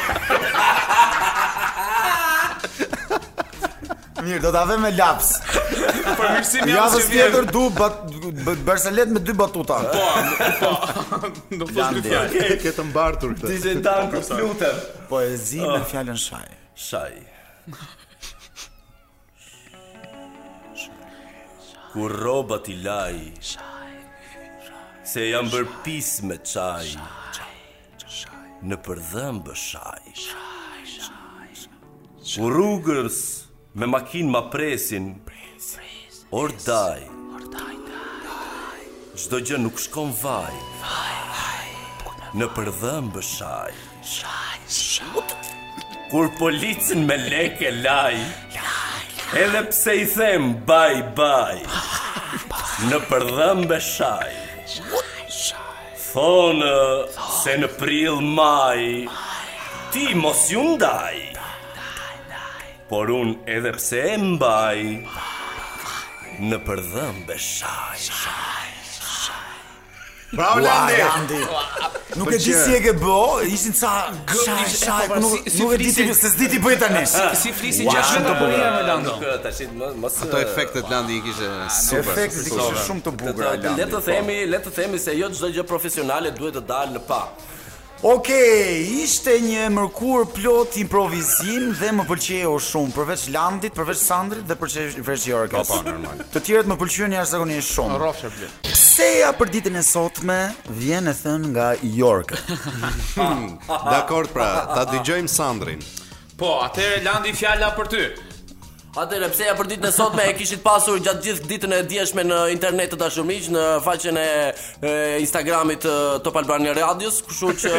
S5: Mirë, do ta vë me laps.
S4: Për mirësim jam
S5: Javës
S4: që vjen
S5: tjetër du bat, b- Barcelet me dy batuta.
S4: Po, po Do fos dy
S5: Landi.
S4: fjallë
S6: Ke të mbartur këtë.
S1: DJ Danko, të lutem.
S5: Poezi Po,
S4: Ah.
S5: me fjalën shaj.
S1: Shaj. Kur robat i laj Se jam bërë pis me qaj Në përdhëmbë shaj Kur rrugës me makin ma presin Ordaj Çdo gjë nuk shkon vaj Në përdhëmbë shaj Kur policin me leke laj Edhe pse i them baj baj Në përdhëmbe shaj Thonë se në prill maj Ti mos ju ndaj Por unë edhe pse e mbaj Në përdhëmbe shaj
S6: Bravo
S5: Ua,
S6: Landi.
S5: Landi. Nuk e di
S6: që-
S5: si e ke bë, ishin ca
S4: Gë-
S5: shaj,
S4: ishte-
S5: shaj,
S4: e, po,
S5: po nuk
S4: si- si
S5: nuk e di
S4: flisin-
S5: ti, se s'di ti bëj tani.
S4: Si flisi
S5: Ua,
S4: 6
S5: shumë
S4: vetë
S5: të bukur.
S4: për Lando.
S1: Kë, tashin, mos- mos
S6: Ato efektet Landi i kishte super.
S5: Ah, Efekti i kishte shumë të bukur.
S7: Të-
S5: Landi,
S7: Le të
S5: po.
S7: themi, le të themi se jo çdo gjë profesionale duhet të dalë në pa.
S5: Okej, ishte një mërkur plot improvizim dhe më pëlqeu shumë, përveç Landit, përveç Sandrit dhe përveç përveç Jorkës.
S6: Po, po, normal.
S5: Të tjerët më pëlqyen jashtëzakonisht shumë.
S4: Rrofshë blet.
S5: Pseja për ditën e sotme vjen e thënë nga Yorka.
S6: Dakor pra, ta dëgjojmë Sandrin.
S4: Po, atëherë Landi fjala për ty.
S7: Atëherë pse ja për ditën e sotme e kishit pasur gjatë gjithë ditën e djeshme në internet të dashur miq në faqen e, e Instagramit të Top Albania Radios, kështu që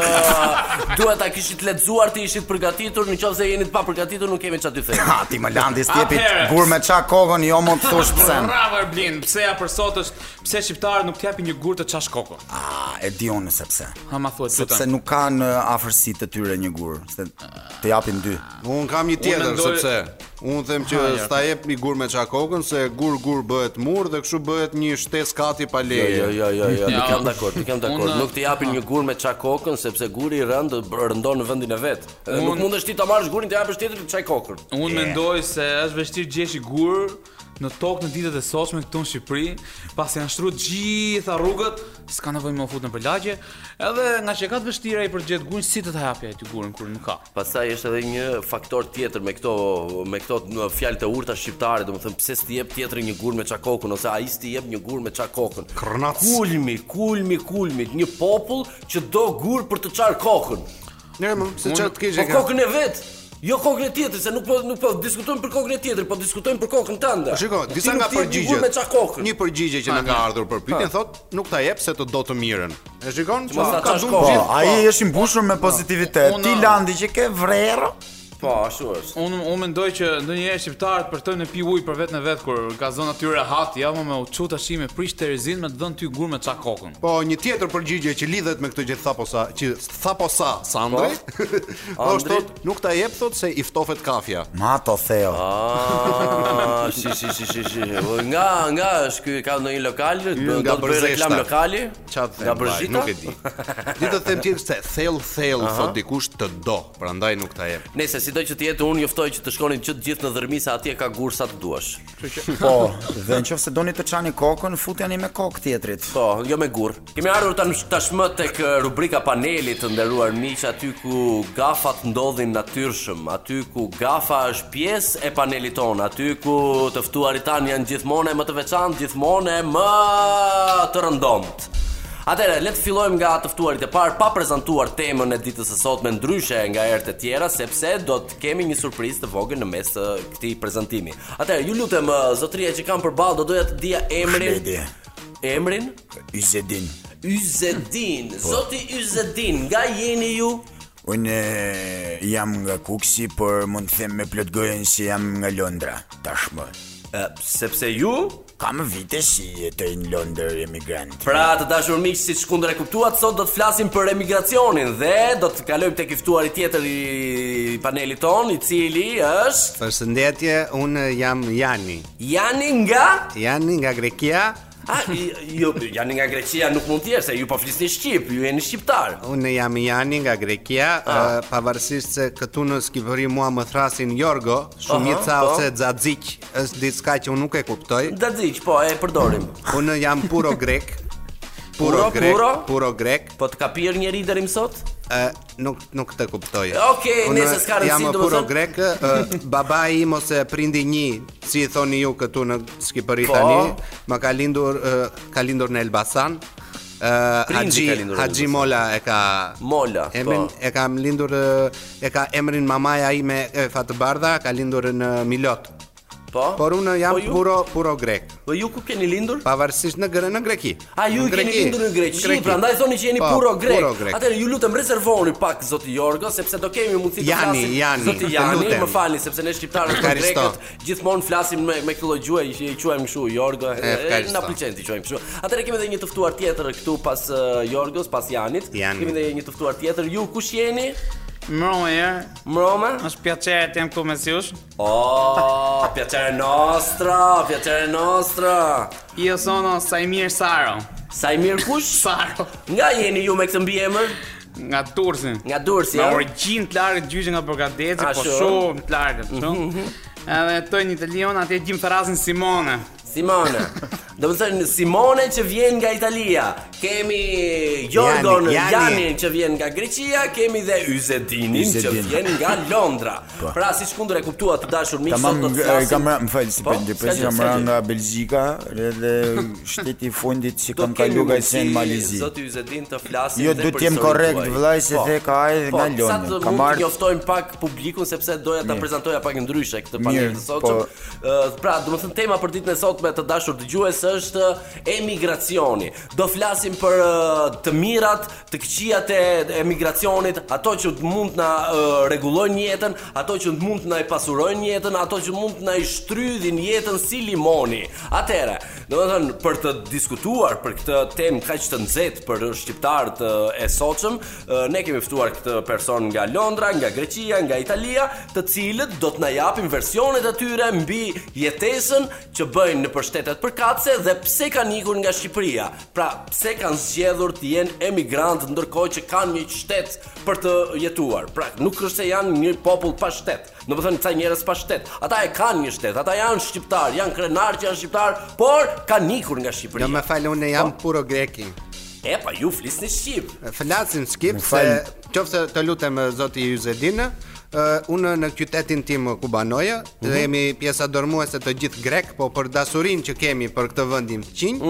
S7: duhet ta kishit lexuar, ti ishit përgatitur, nëse jeni të papërgatitur nuk kemi çfarë të themi.
S5: Ha, ti më Landi stjepi
S4: Atëherë.
S5: gur me ça kokën, jo më të thosh pse.
S4: Bravo Erblin, pse ja për sot është, pse shqiptarët nuk t'japin një gur të çash koko.
S5: Ah, e di unë sepse.
S4: Ha ma thuaj
S5: Sepse
S4: tutën.
S5: nuk kanë afërsi të tyre një gur, se të japin dy.
S6: Un kam një tjetër
S4: mendoj-
S6: sepse un them që
S5: Ah,
S6: sta jep një gur me çakokën se gur gur bëhet mur dhe kështu bëhet një shtesë kati pa
S7: Jo,
S6: leje.
S7: jo, jo, jo, jo, nuk
S4: Ja.
S7: jam dakord, nuk jam dakord.
S4: Unë-
S7: Nuk të japin një gur me çaj kokën sepse guri i rënd rëndon në vendin e vet. Edhe Nuk
S4: Unë-
S7: mundesh ti ta marrësh gurin të japësh tjetrit çaj kokën.
S4: Unë mendoj se është vështirë gjesh i gur në tokë në ditët e sotshme këtu në Shqipëri, pasi janë shtruar gjitha rrugët, s'ka nevojë më fut në përlagje, edhe nga që ka të vështira i përgjet gurin, si të ta hapi aty gurin kur nuk ka.
S7: Pastaj është edhe një faktor tjetër me këto me këto në fjalë të urta shqiptare, domethënë pse s'ti jep tjetrin një gur me çakokën ose ai s'ti jep një gur me çakokën.
S6: Krnac.
S7: Kulmi, kulmi, kulmi, një popull që do gur për të çar kokën.
S6: Nërë, më, se çfarë të keqe
S7: Po
S6: ka.
S7: kokën e vet. Jo kokën e tjetër, se nuk po nuk po diskutojmë për kokën e tjetër, po diskutojmë për kokën tënde.
S6: Po Shiko,
S7: Ti
S6: disa
S7: nuk
S6: nga
S7: ti jep një
S6: përgjigjet.
S7: gur me çakokën.
S6: Një përgjigje që na ka ardhur për pyetjen thotë nuk ta jep se të do të mirën. E shikon?
S7: mos
S6: Po,
S7: ta
S6: ka
S7: qash
S6: shumë
S7: kohë.
S5: Po,
S6: gjithë,
S5: ai është i mbushur me pozitivitet.
S4: Unë-
S5: Ti Landi që ke vrerë,
S7: Po, ashtu është.
S4: Unë unë mendoj që ndonjëherë shqiptarët përtojnë të pi ujë për vetë në vetë kur gazon aty rehat, ja më me u çu tash me prish terezin me të dhënë ty gur me çak kokën.
S6: Po një tjetër përgjigje që lidhet me këtë gjë tha posa, që tha posa Sandri. Po
S7: Andri.
S6: është thotë nuk ta jep thotë se i ftofet kafja.
S5: ma to theo.
S7: Ah, shi shi shi shi shi. O, Nga nga është ky ka ndonjë lokal, do
S6: nga
S7: të bëj reklam
S6: Bërzeshta.
S7: lokali.
S6: Çat
S7: Nga
S6: them, vaj,
S7: Bërzita?
S6: nuk e di. Ti do të them tjetër se thell thell thot dikush të do, prandaj nuk ta jep.
S7: Nëse si do që të jetë, unë juftoj që të shkonin që të gjithë në dhërmi se atje ka gurë sa të duash.
S5: Po, dhe nëse doni të çani kokën, futjani me kokë tjetrit.
S7: Po, jo me gurë. Kemi ardhur tash tashmë tek eh, rubrika paneli të nderuar miq, aty ku gafat ndodhin natyrshëm, aty ku gafa është pjesë e panelit ton, aty ku të ftuarit tan janë gjithmonë e më të veçantë, gjithmonë e më të rëndomt. Atëherë, le të fillojmë nga të ftuarit e parë pa prezantuar temën e ditës së sotme ndryshe nga herët e tjera sepse do të kemi një surprizë të vogël në mes të këtij prezantimi. Atëherë, ju lutem eh, zotëria që kam përballë, do doja të dija emrin.
S5: Shledi.
S7: Emrin
S5: Izedin.
S7: Yzedin, zoti Yzedin, nga jeni ju?
S5: Unë eh, jam nga Kuksi, por mund të them me plot gojën se jam nga Londra tashmë.
S7: sepse ju,
S5: Kam vite si jetoj në Londër emigrant.
S7: pra të dashur miq siç kundër e kuptuat, sot do të flasim për emigracionin dhe do të kalojmë tek i ftuari tjetër i panelit ton, i cili është
S6: Përshëndetje, unë jam Jani.
S7: Jani nga
S6: Jani nga Grekia,
S7: A, i- ju, jani nga Greqia nuk mund të jesh, se ju po flisni shqip, ju jeni shqiptar.
S6: unë jam Jani nga Grekia,
S7: Ah.
S6: uh, pavarësisht se këtu në Skipëri mua më thrasin Jorgo, shumica
S7: Aha, po.
S6: ose Xaxhiq, është diçka që unë nuk e kuptoj.
S7: Dadziq, po, e përdorim.
S6: Unë jam puro grek.
S7: Puro,
S6: grek,
S7: puro?
S6: puro grek.
S7: Po të ka pirë njëri deri më sot?
S6: Ë, nuk nuk të kuptoj.
S7: Okej, nëse s'ka rëndësi,
S6: Jam
S7: domethënë-
S6: puro grek, ë, babai im ose prindi një, si i thoni ju këtu në Skipëri
S7: Po.
S6: tani, më ka lindur ë, ka lindur në Elbasan. ë
S7: Prindi
S6: Haxhi
S7: ka lindur në
S6: Haxhi
S7: Elbasan.
S6: Mola e ka
S7: Mola,
S6: Emrin
S7: po.
S6: e kam lindur ë, e ka emrin mamaja ime e Fatbardha, ka lindur në Milot.
S7: Po.
S6: Por unë jam
S7: po ju,
S6: puro puro grek.
S7: Po ju ku keni lindur?
S6: Pavarësisht në gre, në Greqi.
S7: A ju
S6: Në
S7: i keni
S6: Greqi.
S7: lindur në Greqi, prandaj thoni që jeni
S6: Po,
S7: puro grek.
S6: puro grek.
S7: Atëherë ju lutem rezervoni pak zoti Jorgo sepse do kemi mundësi të
S6: Jani,
S7: flasim.
S6: Jani,
S7: zoti
S6: të
S7: Jani,
S6: lutem.
S7: më falni sepse ne shqiptarët dhe
S6: Efkaristo.
S7: grekët gjithmonë flasim me me këtë lloj gjuhë që i quajmë kështu Jorgo. e,
S6: Efkaristo.
S7: Na pëlqen ti quajmë kështu. Atëherë kemi edhe një të ftuar tjetër këtu pas eh, Jorgos, pas Janit.
S6: Jani.
S7: Kemi edhe një të ftuar tjetër. Ju kush jeni?
S4: Mëroma herë,
S7: Mrome?
S4: është pjaçerë të jem këtu me syush.
S7: Oh, piacere nostra, piacere nostra.
S4: Io sono Saimir Saro.
S7: Sa i mirë kush?
S4: Saro,
S7: Nga jeni ju me këtë mbiemër?
S4: nga Tursi.
S7: Nga Durrësi, eh?
S4: Me
S7: ja?
S4: origjinë të largët gjyqi nga Borgadeci,
S7: A,
S4: po
S7: shumë? Mhm.
S4: shumë të largët, shumë. Edhe jetoj në Italion, atje gjim Ferrazin Simone.
S7: Simone. Do të thënë Simone që vjen nga Italia. Kemi Jorgon
S5: Jani,
S7: Jani,
S5: Jani.
S7: që vjen nga Greqia, kemi dhe Yzedinin që
S5: Yzedin. Po.
S7: vjen nga Londra. pra siç kundër e kuptua të dashur miq
S5: Tamam,
S7: sot do të
S5: e,
S7: flasim.
S5: kam ra, më falë, si
S7: Po,
S5: për ndërpres,
S7: s'ka gjë,
S5: kam
S7: s'ka
S5: ra
S7: gjë.
S5: nga Belgjika, edhe shteti i fundit që
S7: Do
S5: kam
S7: kemi
S5: kalu nga
S7: mundësi,
S5: sen Malizi.
S7: Zoti Yzedin të flasim
S5: Jo,
S7: dhe
S5: duhet
S7: për
S5: t'jem
S7: historinë
S5: korrekt,
S7: tuaj.
S5: vëllai, se the ka ardhur
S7: po,
S5: nga
S7: Sa
S5: Londra.
S7: të jo,
S5: Ka
S7: mund
S5: marrë-
S7: të njoftojmë pak publikun sepse doja ta prezantoja pak ndryshe këtë panel
S5: Mirë,
S7: të sotshëm.
S5: po.
S7: Ë, pra, domethënë tema për ditën e sotme të dashur dëgjues është emigracioni. Do flasim për ë, të mirat, të këqijat e emigracionit, ato që të mund na ë, rregullojnë jetën, ato që të mund na i pasurojnë jetën, ato që mund na i shtrydhin jetën si limoni. Atëherë, domethënë për të diskutuar për këtë temë kaq të nxehtë për shqiptarët ë, e sotshëm, ë, ne kemi ftuar këtë person nga Londra, nga Greqia, nga Italia, të cilët do të na japin versionet e tyre mbi jetesën që bëjnë në shtetet përkatëse dhe pse kanë ikur nga Shqipëria. Pra, pse kanë zgjedhur të jenë emigrantë ndërkohë që kanë një shtet për të jetuar. Pra, nuk është se janë një popull pa shtet. Do të thënë ca njerëz pa shtet. Ata e kanë një shtet, ata janë shqiptar, janë krenar që janë shqiptar, por kanë ikur nga Shqipëria.
S6: Në me falë, Jo, unë jam
S7: Po.
S6: puro greki.
S7: E pa ju flisni shqip.
S6: Flasim skip,
S5: Më
S6: se
S5: fal.
S6: qoftë të lutem eh, zoti Yzedin, uh, unë në qytetin tim ku banoja, dhe jemi pjesa dërmuese të gjithë grek, po për dasurinë që kemi për këtë vendin të qinj,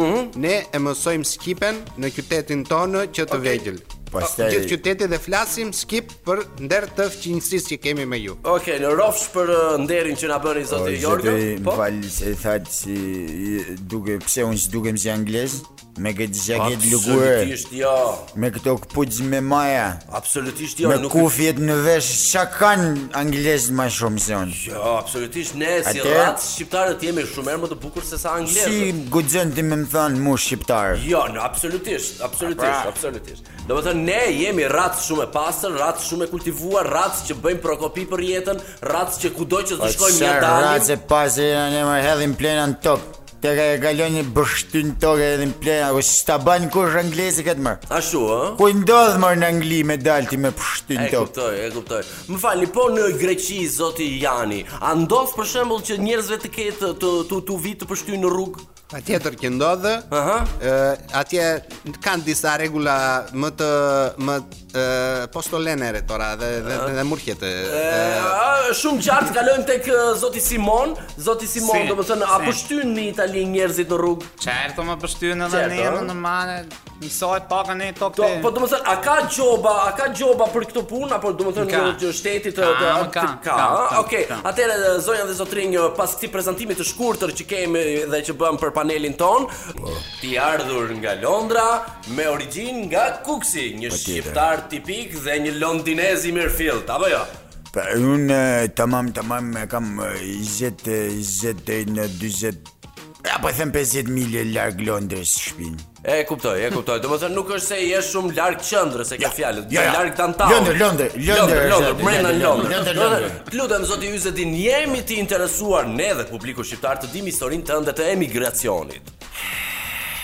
S6: ne e mësojmë skipen në qytetin tonë që të vegjël.
S5: Pastaj-
S7: jo,
S6: Gjithë qyteti dhe flasim skip për nder të fqinjësisë që kemi me ju.
S7: Okej, në rrofsh për ë, nderin që na bëri Po,
S5: O,
S7: zoti
S5: zotri,
S7: Jorgo.
S5: po, Më falë, se thatë si i- duke, pse unë që dukem si angles, me këtë zhaket lugurë,
S7: Absolutisht jo.
S5: me këto këpuqë me maja,
S7: Absolutisht jo,
S5: me
S7: nuk
S5: kufjet në vesh, çka kanë anglezët më shumë se unë?
S7: Jo, absolutisht ne si
S5: Atëherë-
S7: rrat shqiptarët jemi shumë herë më të bukur se sa
S5: Si
S7: anglezët.
S5: guxon ti më më thon mu shqiptar?
S7: Jo, në absolutisht, absolutisht,
S4: Pra.
S7: absolutisht. Do të thënë ne jemi racë shumë e pastër, racë shumë e kultivuar, racë që bëjmë prokopi për jetën, racë që kudo që
S4: Po
S7: të shkojmë ja dalim.
S5: Race pasi ne më hedhin plena në tokë. Te ka e kaloni bështin tokë edhe në plena, ku s'ta ban kush anglezi këtë mërë.
S7: Ashtu, ë?
S5: Ku i ndodh mërë në Angli me dalti me pështin
S7: E
S5: tokë.
S7: kuptoj, e kuptoj. Më falni, po në Greqi zoti Jani, a ndodh për shembull që njerëzve të ketë të të tu vit të përshtyjnë në rrugë?
S6: Pa tjetër që ndodhë,
S7: Aha.
S6: ë, atje kanë disa regula më të më uh, postolenere tora dhe, dhe, dhe murkjete.
S7: Ë, shumë gjatë kalojmë tek ë, zoti Simon, zoti Simon,
S4: Si,
S7: domethënë
S4: si.
S7: apo shtyn në Itali njerëzit në rrugë?
S4: Çerto më pështyën edhe
S7: Qerto,
S4: ne
S7: ëh?
S4: më normale, njësoj pak ne tokë.
S7: Do,
S4: te-
S7: po domethënë a ka gjoba, a ka gjoba për këtë punë apo domethënë
S4: Ka.
S7: në që shteti të
S4: Ka,
S7: të-
S4: më ka,
S7: të-
S4: ka,
S7: a?
S4: ka,
S7: Okej.
S4: ka.
S7: Atëherë zonja dhe zotrinj pas këtij prezantimi të shkurtër që kemi dhe që bëm për panelin ton, ti ardhur nga Londra me origjinë nga Kuksi,
S4: Po
S7: një shqiptar tipik dhe një londinez i mirëfillt, apo jo?
S5: Pa, unë e, tamam, tamam, e kam e, 20, e, 20 deri në 40, apo them 50 milje larg Londrës shpinë.
S7: E kuptoj, e kuptoj. Domethënë nuk është se je shumë larg qendrës e ke fjalën, je larg downtown.
S5: Londër, Londër, Londër,
S7: Londër, Londër, brenda në Londër.
S5: Londër,
S7: Domethënë,
S5: Londër.
S7: Lutem zoti Yzetin, jemi të interesuar ne dhe publiku shqiptar të dim historinë tënde të emigracionit.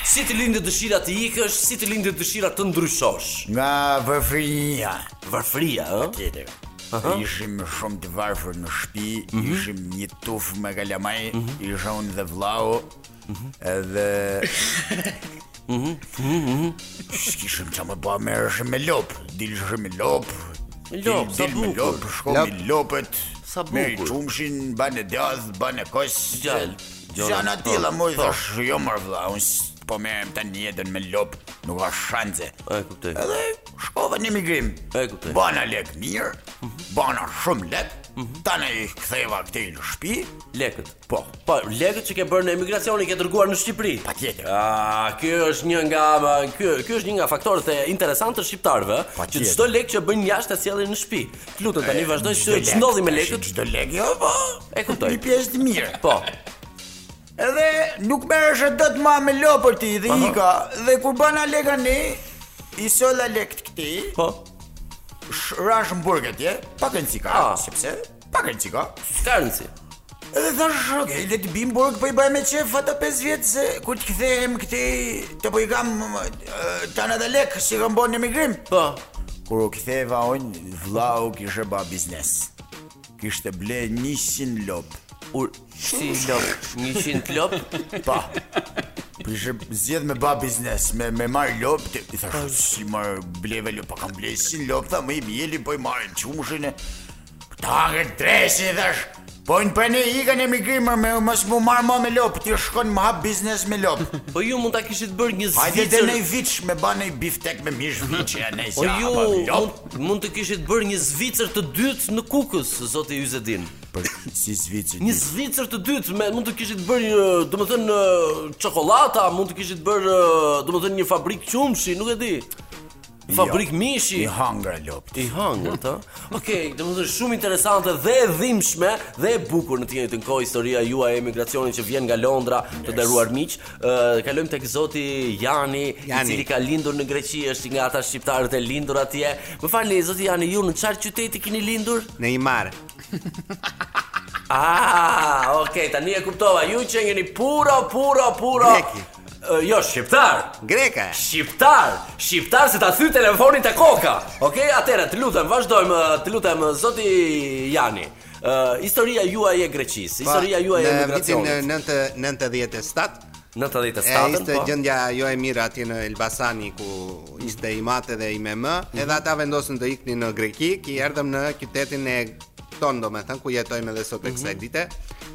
S7: Si të lindë dëshira të ikësh, si të lindë dëshira të ndryshosh.
S5: Nga vëfrinja.
S7: Varfëria, ë?
S5: tjetër. Ishim shumë të varfër në shtëpi,
S7: Mhm.
S5: ishim një tuf me kalamaj, isha unë dhe vllau.
S7: Mhm.
S5: Edhe
S7: mhm,
S5: Shkishim që më bëha merëshim me lop Dilshim me lop
S7: lop, sa
S5: me
S7: bukur.
S5: lop, shkom me lopët
S7: Sa
S5: Meri
S7: bukur.
S5: qumshin, banë djath, banë kos
S7: Gjallë, gjallë,
S5: Gjana
S7: po,
S5: tila mu i
S7: po.
S5: thash Jo mërë vla, unë s- po merem të njedën me lop Nuk ka shanse
S7: E kuptoj.
S5: Edhe shkova në emigrim.
S7: E kuptoj.
S5: Bana lek mirë, bana shumë lek, tani i ktheva këtej në shtëpi,
S7: Lekët.
S5: po,
S7: Po, lekët që ke bërë në emigracion i ke dërguar në Shqipëri.
S5: patjetër.
S7: A, ky është një nga ky ky është një nga faktorët e interesantë të shqiptarëve,
S5: Pa
S7: që
S5: tjetër.
S7: çdo lek që bëjnë jashtë ta sjellin në shtëpi. Lutem tani vazhdoj se ç'ndodhi me lekët.
S5: Çdo lek, jo, po.
S7: E kuptoj.
S5: Një pjesë të mirë.
S7: Po.
S5: Edhe nuk merresh dot më me lopër ti dhe ika, dhe kur bana leka ne, i sola lek këtij,
S7: Po.
S5: sh- rash burg atje, pak rëndësi ka,
S7: Ah.
S5: sepse pak rëndësi ka.
S7: Ka rëndësi.
S5: Edhe thash, okay, le të bim burg, po i bëjmë me qef ata 5 vjet se kur të kthehem këtej të po i kam eh, tana dhe lek si kam bën në migrim.
S7: Po.
S5: Kur u ktheva on, vllau kishe ba biznes. Kishte ble 100 lop.
S7: Ur si lop, 100 lop.
S5: Pa. Prishe zgjedh me ba biznes, me me marr lop, të, i
S7: Po.
S5: thash si marr bleve lop, pa kam blej si lop, tha më i bjeli po i marrin çumshin e ta ngë treshi thash. Po në për ne ikën e migrimër me mos mu marr më me lop, ti shkon më hap biznes me lop.
S7: Po ju mund ta kishit bërë një
S5: Hajde të
S7: Zvicër.
S5: nej viç me ba nej biftek me mish viçe, ja nej
S7: Po
S5: sa.
S7: ju
S5: hapa lop.
S7: mund, mund të kishit bërë një Zvicër të dytë në Kukës, zoti Yzedin.
S5: Për si zviçi.
S7: Një Zvicër të dytë, me mund të kishit bërë një, domethënë çokolata, mund të kishit bërë, domethënë një fabrikë qumshi, nuk e di. Fabrikë mishi.
S5: i hangra lop.
S7: I hangër ta. Okej, domethënë shumë interesante dhe e dhimbshme dhe e bukur në të njëjtën kohë historia juaj e emigracionit që vjen nga Londra, të nderuar miq. Ë kalojmë tek zoti Jani,
S6: Jani.
S7: i cili ka lindur në Greqi, është nga ata shqiptarët e lindur atje. Më falni zoti Jani, ju në çfarë qyteti keni lindur?
S6: Në i marë
S7: Ah, okej, tani e kuptova. Ju që jeni puro, puro, puro.
S6: Greki.
S7: Ë, jo, shqiptar.
S6: Greka
S7: Shqiptar, shqiptar se ta thy telefonin te koka. Okej, atëherë të lutem, vazhdojmë, të lutem zoti Jani. Ë, historia juaj e Greqisë, historia juaj e emigracionit.
S6: Në vitin 97 E
S7: 97-ën,
S6: ishte
S7: po.
S6: gjendja jo e mirë atje në Elbasani ku ishte i matë dhe i me më Edhe ata vendosën të ikni në Greki Ki erdhëm në qytetin e tonë do me thënë Ku jetojmë edhe sot e kësaj dite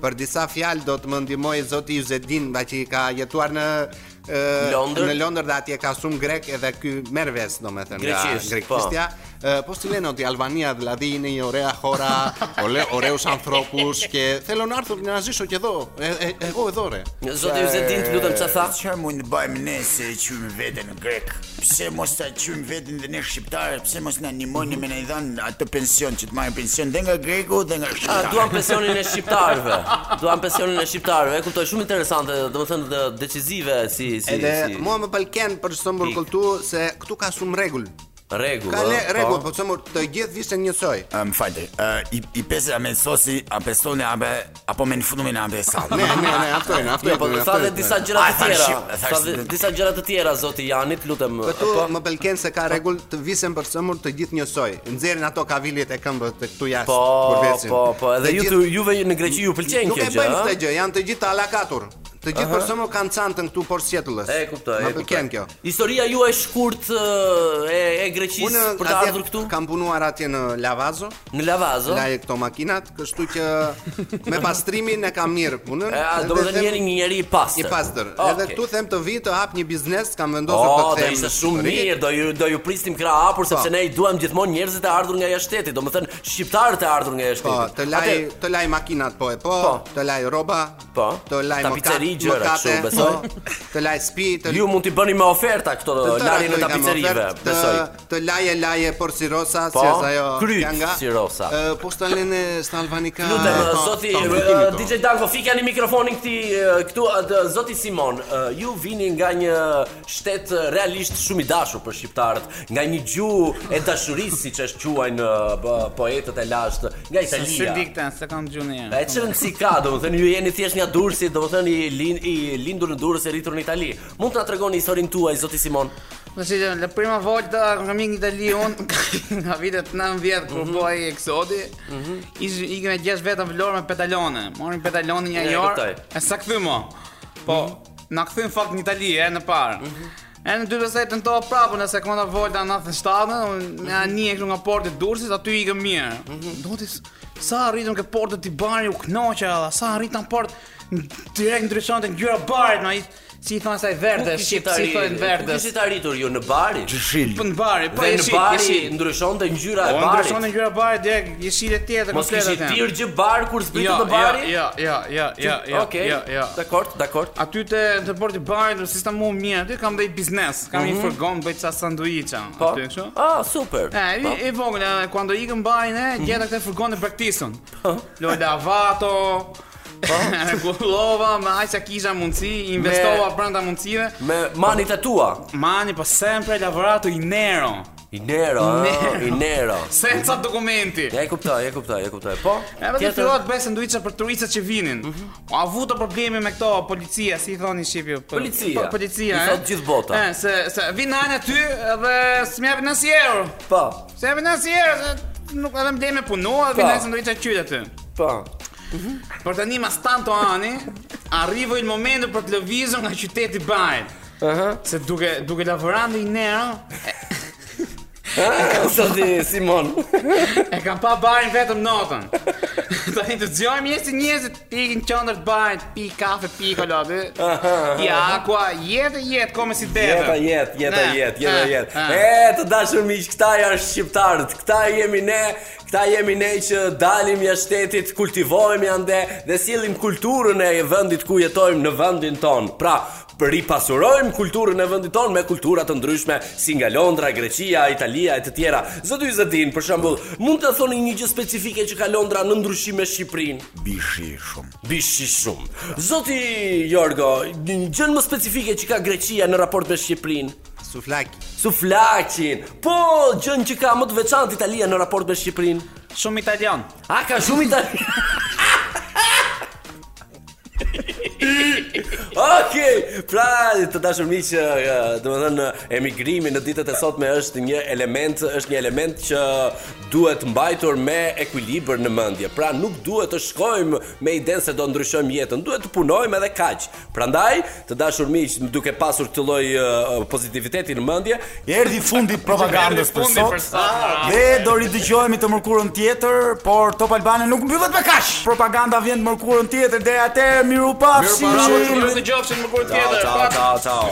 S6: Për disa fjalë do të më ndimoj zoti Juzedin Ba që i ka jetuar në e,
S7: Londër.
S6: Në Londër dhe atje ka shumë grek Edhe ky merr ves do me thënë nga
S7: Greqisht, po.
S6: Grekistja E, Po si leno ti Albania Vladini Orea Hora ole, Oreus Anthropus Ke Θέλω να έρθω να ζήσω και εδώ Ε, ε, Εγώ εδώ ρε
S7: Zoti Yzedin, të lutem çfarë tha?
S5: Çfarë mund të bëjmë ne se e qymë veten në grek? Pse mos ta qymë veten dhe ne shqiptarë? Pse mos na nimojnë me na i dhanë atë pension që të marrin pension dhe nga greku dhe nga
S7: A,
S5: shqiptarë?
S7: duan Ah, pensionin e shqiptarëve. Duan pensionin e shqiptarëve. E kuptoj, shumë interesante, domethënë dhe decizive si si
S6: Edhe
S7: si
S6: mua më pëlqen për shembull
S7: Ik.
S6: këtu se këtu ka shumë rregull.
S7: rregull.
S6: Ka le
S7: ë,
S6: rregull,
S7: po.
S6: për shembull të gjithë vishën njësoj.
S5: A, Më falë, i, i pesa me sosi, a pesone, a be, apo me në fënumin a be sa.
S6: Ne, ne, ne, aftojnë,
S7: Po. Jo,
S6: aftojnë.
S7: po
S6: aftojnë,
S7: tha dhe
S6: aftojnë.
S7: disa gjëra
S5: Ai,
S7: të
S5: thash-
S7: tjera.
S5: thash-
S7: Tha dhe disa gjëra të tjera zoti Jani, të lutem.
S6: Këtu
S7: po.
S6: më pëlqen se ka rregull të visen për shembull të gjithë njësoj. Nxjerrin ato kaviljet e këmbës të këtu jashtë
S7: Po,
S6: kur vecin.
S7: po, po, edhe
S6: Të
S7: ju
S6: gjithë-
S7: juve në Greqi ju pëlqen
S6: Nuk
S7: kjo
S6: e
S7: gjë,
S6: bëjnë
S7: ëh?
S6: këtë gjë, janë të gjithë alakatur. Të gjithë për shembull kanë cantën këtu por sjetullës.
S7: E kuptoj.
S6: Më
S7: e kuptoj.
S6: pëlqen kjo.
S7: Historia juaj e shkurt ë, e e Greqisë për të
S6: atje
S7: ardhur këtu
S6: kam punuar atje në Lavazo.
S7: në Lavazo.
S6: Laje këto makinat, kështu që me pastrimin e kam mirë punën.
S7: E, a, do
S6: Dhe
S7: të thënë
S6: them-
S7: njëri një njeri i pastër.
S6: i pastër.
S7: Okej.
S6: Edhe këtu them të vi të hap një biznes, kam vendosur
S7: O,
S6: të
S7: do
S6: them. Po.
S7: ishte shumë
S6: ri.
S7: mirë, do ju do ju prisnim krah hapur sepse ne i duam gjithmonë njerëzit e ardhur nga jashtë shtetit, domethënë shqiptarët e ardhur nga jashtë
S6: Po,
S7: shtetit.
S6: të laj
S7: Atë-
S6: të laj makinat po e po,
S7: Po.
S6: të laj rroba,
S7: Po.
S6: të laj
S7: Ta
S6: mëkat-
S7: pizzeri, gjëra,
S6: mëkate,
S7: kështu, besoj.
S6: po, Të laj spi, të
S7: ju mund t'i bëni me oferta këto
S6: të tëra
S7: larjen e
S6: këto i kam
S7: tapicerive,
S6: ofert, të-
S7: besoj.
S6: Të laje laje por sirosa,
S7: Po,
S6: si është ajo
S7: kryp
S6: pjanga.
S7: sirosa.
S6: Ë, Po stalene stalvanika.
S7: Lutem,
S6: po,
S7: zoti
S6: po,
S7: eh,
S6: ndikimi to.
S7: DJ Danko, fikjani mikrofonin këti eh, këtu atë, zoti Simon. eh, Ju vini nga një shtet eh, realisht shumë i dashur për shqiptarët, nga një gjuhë e dashurisë siç është quajnë eh, bë- poetët e lashtë, nga
S4: Shumë
S7: Italia.
S4: dikten, se kam gjuhë në
S7: E që rëndësi ka, do më thënë, ju jeni thjesht nga Durrësi, do më thënë, i, lin, i lindur në Durrës e rritur në Itali. Mund të na tregoni historinë tuaj, zoti Simon?
S4: Ma si la prima volta che mi in Italia on nga vitet 90 kur
S7: Mhm.
S4: bëi eksodi, ish ikën e gjesh vetëm vlorë me pedalone. Morin pedalonin një
S7: Ja, Mhm. e kuptoj.
S4: javë. E sa kthym Po, na kthyn fakt në Itali e në parë.
S7: Mhm.
S4: E në 20 tentova prapë në sekonda volta 97, unë
S7: Mhm.
S4: me ani e kështu nga portet e Durrësit, aty ikëm mirë. Doti s- sa arritëm ke portët i bari u knoqja, alla, sa arritëm port n- direkt ndryshonte ngjyra barit, na i si i thon asaj verde,
S7: Ku
S4: shqip,
S7: kishit
S4: si
S7: arri-
S4: thonë
S7: Ku
S4: verdes.
S7: kishit arritur ju në bari?
S4: Po në bari, po
S7: Dhe
S4: e
S7: në
S4: shi, e
S7: bari
S4: shi.
S7: ndryshonte ngjyra
S4: Po
S7: e
S4: ndryshon në
S7: barit.
S4: gjyra bari direkt, je shi tjetër
S7: Mos
S4: komplet
S7: kishit
S4: atje.
S7: tirë gjë bar kur
S4: Jo,
S7: zbritët në bari?
S4: Jo, jo, jo, jo, jo,
S7: Okej,
S4: jo, jo.
S7: Dakord, dakord.
S4: Aty te te porti barit, si sta më mirë, aty kam bëj biznes, kam një furgon bëj ca sanduiça
S7: Mhm. Po.
S4: aty kështu.
S7: Ah, super.
S4: E, i, i vogël, e, kuando ikën barin e,
S7: Mhm.
S4: gjeta këtë furgon e braktisën.
S7: Po.
S4: Lo lavato, Rregullova, me aq sa kisha mundësi, investova brenda mundësive.
S7: Me manit e tua.
S4: Mani po sempre lavorato in nero.
S1: Inero, ëh, Inero.
S4: Senca dokumenti.
S1: Ja e kuptoj, ja e kuptoj, ja e kuptoj. Po.
S4: E vetë filluat bëj sanduiça për turistët që vinin.
S1: Mhm.
S4: Po, A vu të problemi me këto policia, si i thoni në Shqipë? po-
S1: Policia.
S4: po- Policia,
S1: I
S4: e?
S1: thot gjithë bota.
S4: E, se, se vinë anë aty edhe s'mjapin as euro.
S1: Po.
S4: S'mjapin as euro, se nuk edhe më blej me punu, edhe
S1: Po.
S4: vinë anë sanduiça qytë aty.
S1: Po.
S4: Për tani mas tanto ani, arrivo il momento për të lëvizur nga qyteti i Bajt.
S1: Aha.
S4: Se duke duke lavorando in nero,
S1: Ah, Zoti Simon.
S4: e kam pa barin vetëm notën. Tani të dëgjojmë njerëz njerëzit pikin qendër të bajt, pi kafe, pi kolade. Ja, aqua, jetë jetë kome si deve.
S1: Jeta jet, jeta
S4: Ne,
S1: jet, jeta
S4: ne,
S1: jet.
S4: ne.
S1: E, të dashur miq, këta janë shqiptarët. Këta jemi ne, këta jemi ne që dalim jashtë shtetit, kultivohemi ande dhe sjellim kulturën e vendit ku jetojmë në vendin ton. Pra, ripasurojmë kulturën e vendit ton me kultura të ndryshme si nga Londra, Greqia, Italia e të tjera. Zoti Zadin, për shembull, mund të thoni një gjë specifike që ka Londra në ndryshim me Shqipërinë?
S5: Bishi shumë.
S1: Bishi shumë. Zoti Jorgo, një gjë më specifike që ka Greqia në raport me Shqipërinë?
S7: Suflaki.
S1: Suflaqin. Po, gjën që ka më të veçantë Italia në raport me Shqipërinë.
S4: Shumë italian.
S1: A ka shumë Itali. Okej, pra të dashur miq, ë, domethënë emigrimi në ditët e sotme është një element, është një element që duhet mbajtur me ekuilibër në mendje. Pra nuk duhet të shkojmë me idenë se do ndryshojmë jetën, duhet të punojmë edhe kaq. Prandaj, të dashur miq, duke pasur këtë lloj ë, pozitiviteti në mendje,
S5: Erdi fundi propagandës për
S4: Fundi për
S5: sot. Ah,
S4: sot.
S5: Dhe do ridëgjohemi të mërkurën tjetër, por Top Albania nuk mbyllet me kaq. Propaganda vjen të mërkurën tjetër deri atëherë miru pafshi.
S4: Bravo, ju dëgjofshin më kur tjetër.
S1: ciao,
S4: pa-
S1: ciao, ciao.